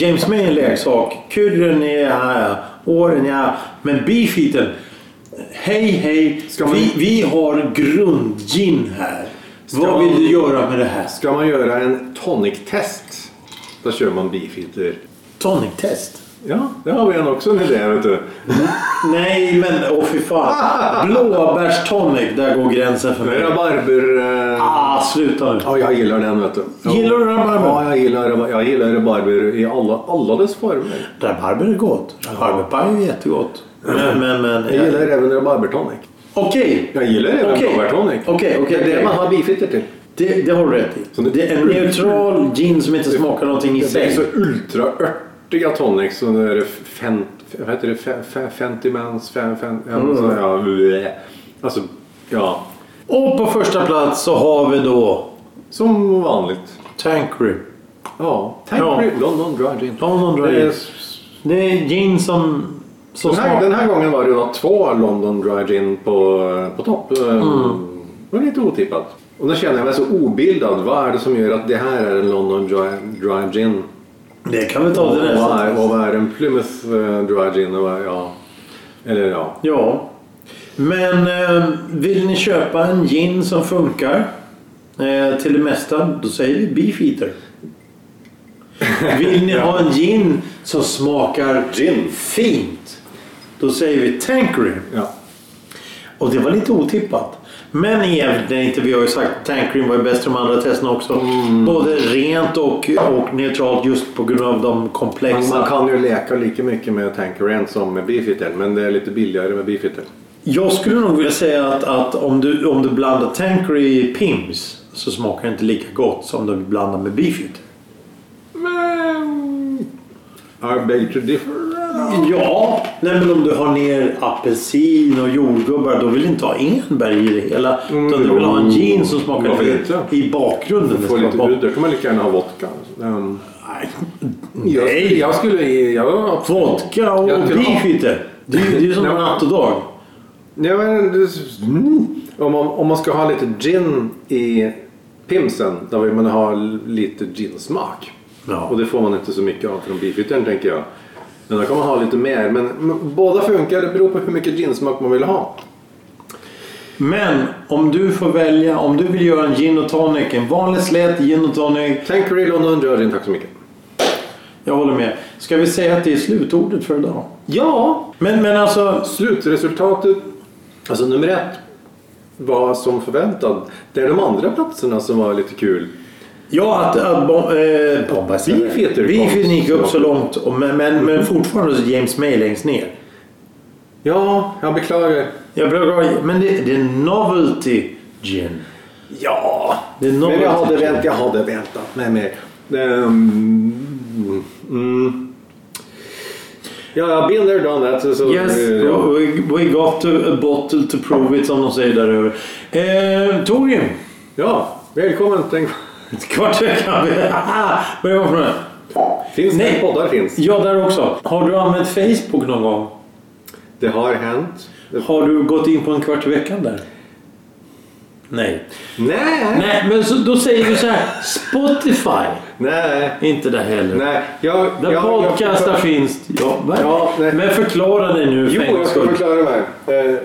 Speaker 1: James May är en leksak. Kurren är här. Åren är här. Men Beefeater. Hej hej.
Speaker 2: Ska man-
Speaker 1: Vi, vi har grundgin här. Vad vill
Speaker 2: man-
Speaker 1: du göra med det här?
Speaker 2: Ska man göra en tonic-test, då kör man Beefritter.
Speaker 1: Tonic-test?
Speaker 2: Ja, det har vi en också en idé, vet du.
Speaker 1: Nej men åh fy fan. Blåbärstonic, där går gränsen för mig.
Speaker 2: Rabarber... eh,
Speaker 1: Ah, sluta nu.
Speaker 2: Ja, jag gillar den vet du. Ja.
Speaker 1: Gillar du rabarber?
Speaker 2: Ja, jag gillar, rabar- jag gillar rabarber i alla, alla dess former.
Speaker 1: Rabarber är gott. Rabarberpaj är jättegott. Men, men, men. eh,
Speaker 2: Jag gillar även rabarbertonic.
Speaker 1: Okej.
Speaker 2: Jag gillar även
Speaker 1: Okej.
Speaker 2: rabarbertonic.
Speaker 1: Okej, okej,
Speaker 2: Det är det
Speaker 1: okej.
Speaker 2: man har bifitter till.
Speaker 1: Det, det har du rätt i.
Speaker 2: Så det-
Speaker 1: Det är en neutral gin som inte smakar någonting i
Speaker 2: Det är
Speaker 1: sig.
Speaker 2: så ultraörtiga tonics. Så nu är det fent, vad heter det? Fe- fe- Fentimans... Fem, fem, ja, så,
Speaker 1: Mm.
Speaker 2: ja, blä. alltså, ja.
Speaker 1: Och på första plats så har vi då
Speaker 2: Som vanligt.
Speaker 1: Tankery.
Speaker 2: Ja. Tack
Speaker 1: Ja.
Speaker 2: för London Dry Gin.
Speaker 1: London Dry
Speaker 2: Det är
Speaker 1: Gin.
Speaker 2: s-
Speaker 1: Det är gin som, som
Speaker 2: Den här,
Speaker 1: smakar...
Speaker 2: den här gången var det då två London Dry Gin på, på topp. Ehm, Det var lite otippat. Och då känner jag mig så obildad. Vad är det som gör att det här är en London Dry, dry Gin?
Speaker 1: Det kan vi ta
Speaker 2: Och
Speaker 1: till nästa.
Speaker 2: vad, är, och vad är en Plymouth eh, Dry Gin? Och vad, ja. Eller ja.
Speaker 1: Ja. Men eh, vill ni köpa en gin som funkar eh, till det mesta, då säger vi Beefeater. Vill ni ha en gin som smakar
Speaker 2: Gin.
Speaker 1: fint, då säger vi Tankery.
Speaker 2: ja.
Speaker 1: Och det var lite otippat. Men egentligen inte. Vi har ju sagt att tankrim var ju bäst i de andra testerna också.
Speaker 2: Mm.
Speaker 1: Både rent och, och neutralt just på grund av de
Speaker 2: Man,
Speaker 1: komplexa.
Speaker 2: man kan ju leka lika mycket med Tankerant som med Beefeater. Men det är lite billigare med Beefeater.
Speaker 1: Jag skulle nog vilja säga att, att om, du, om du blandar tankry i Pims så smakar det inte lika gott som om du blandar med Beefeater.
Speaker 2: Men... I beg to differ.
Speaker 1: Ja, nej men om du har ner apelsin och jordgubbar då vill du inte ha enbär i det hela.
Speaker 2: Mm.
Speaker 1: Utan du vill ha en gin som smakar
Speaker 2: Varför
Speaker 1: lite
Speaker 2: inte?
Speaker 1: i bakgrunden.
Speaker 2: Får
Speaker 1: Det
Speaker 2: lite
Speaker 1: ska vara-
Speaker 2: udder. Då kan man lika gärna ha vodka. Ehm, Jag,
Speaker 1: Nej.
Speaker 2: jag skulle... Jag,
Speaker 1: Vodka och
Speaker 2: Jag kunde ha-
Speaker 1: beefeater. Det är ju det är ju som
Speaker 2: Nej, men-
Speaker 1: natt och dag.
Speaker 2: nej, men, det- mm. om, man, om man ska ha lite gin i pimsen då vill man ha lite ginsmak.
Speaker 1: Ja.
Speaker 2: Och det får man inte så mycket av från beefeatern tänker jag. Men då kan man ha lite mer. Men, men båda funkar. Det beror på hur mycket ginsmak man vill ha.
Speaker 1: Men om du får välja, om du vill göra en gin och tonic, en vanlig slät gin och tonic.
Speaker 2: Tankery London Georgian, tack så mycket.
Speaker 1: Jag håller med. Ska vi säga att det är slutordet för idag?
Speaker 2: Ja,
Speaker 1: Men, men alltså,
Speaker 2: slutresultatet Alltså nummer ett var som förväntat. Det är de andra platserna som var lite kul.
Speaker 1: Ja, att, att bom, eh, bomba sig.
Speaker 2: Beef heter det.
Speaker 1: Beefen gick upp så långt, och- men, men, men fortfarande så James May längst ner.
Speaker 2: Ja, jag beklagar.
Speaker 1: Jag brukar, men det, det är novelty gin.
Speaker 2: Ja,
Speaker 1: Det är något-
Speaker 2: men jag hade, vänt, jag hade väntat mig mer. Ehm, mm. Ja, been there, done that. Så, så,
Speaker 1: Yes,
Speaker 2: ja.
Speaker 1: we, we got a, a bottle to prove it som de säger där över. Eh, Torgrim,
Speaker 2: ja, välkommen. Tänk,
Speaker 1: kvart vecka. Vad är det för något?
Speaker 2: finns
Speaker 1: Nej.
Speaker 2: det poddar finns.
Speaker 1: Ja, där också. Har du använt Facebook någon gång?
Speaker 2: Det har hänt. Det-
Speaker 1: Har du gått in på en kvart i veckan där? Nej.
Speaker 2: Nej,
Speaker 1: Nej, men så, då säger du så här. Spotify.
Speaker 2: nej,
Speaker 1: Inte det heller.
Speaker 2: nej. Jag,
Speaker 1: Där
Speaker 2: jag,
Speaker 1: podcastar
Speaker 2: jag,
Speaker 1: finns. Ja, va?
Speaker 2: Ja, nej.
Speaker 1: men förklara dig nu
Speaker 2: Jo,
Speaker 1: för en gångs
Speaker 2: jag ska
Speaker 1: skull.
Speaker 2: förklara mig. Eh,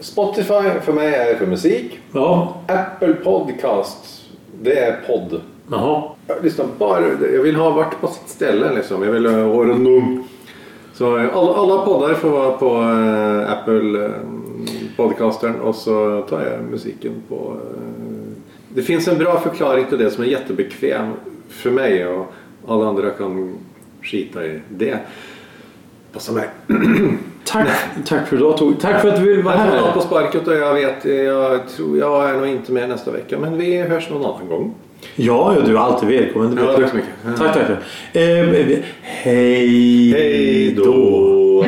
Speaker 2: Spotify för mig är för musik.
Speaker 1: Ja,
Speaker 2: Apple Podcast, det är podd.
Speaker 1: jaha.
Speaker 2: Jag, lyssnar bara, jag vill ha varit på sitt ställe liksom. Jag vill eh, ha det nu. Så eh, alla, alla poddar får vara på eh, Apple eh, Podcastern och så tar jag musiken på... eh, det finns en bra förklaring till det som är jättebekväm för mig och alla andra kan skita i det. Passa mig.
Speaker 1: Tack, tack för idag Tor. Tack för att du ville vara
Speaker 2: Jag får ta
Speaker 1: här.
Speaker 2: på sparket och jag vet, eh, jag tror jag är nog inte med nästa vecka men vi hörs någon annan gång.
Speaker 1: Ja, ja, du är alltid välkommen. Det
Speaker 2: Ja,
Speaker 1: vet
Speaker 2: tack
Speaker 1: jag.
Speaker 2: så mycket.
Speaker 1: Tack, tack. eh, tack. Eh, hej
Speaker 2: Hej då!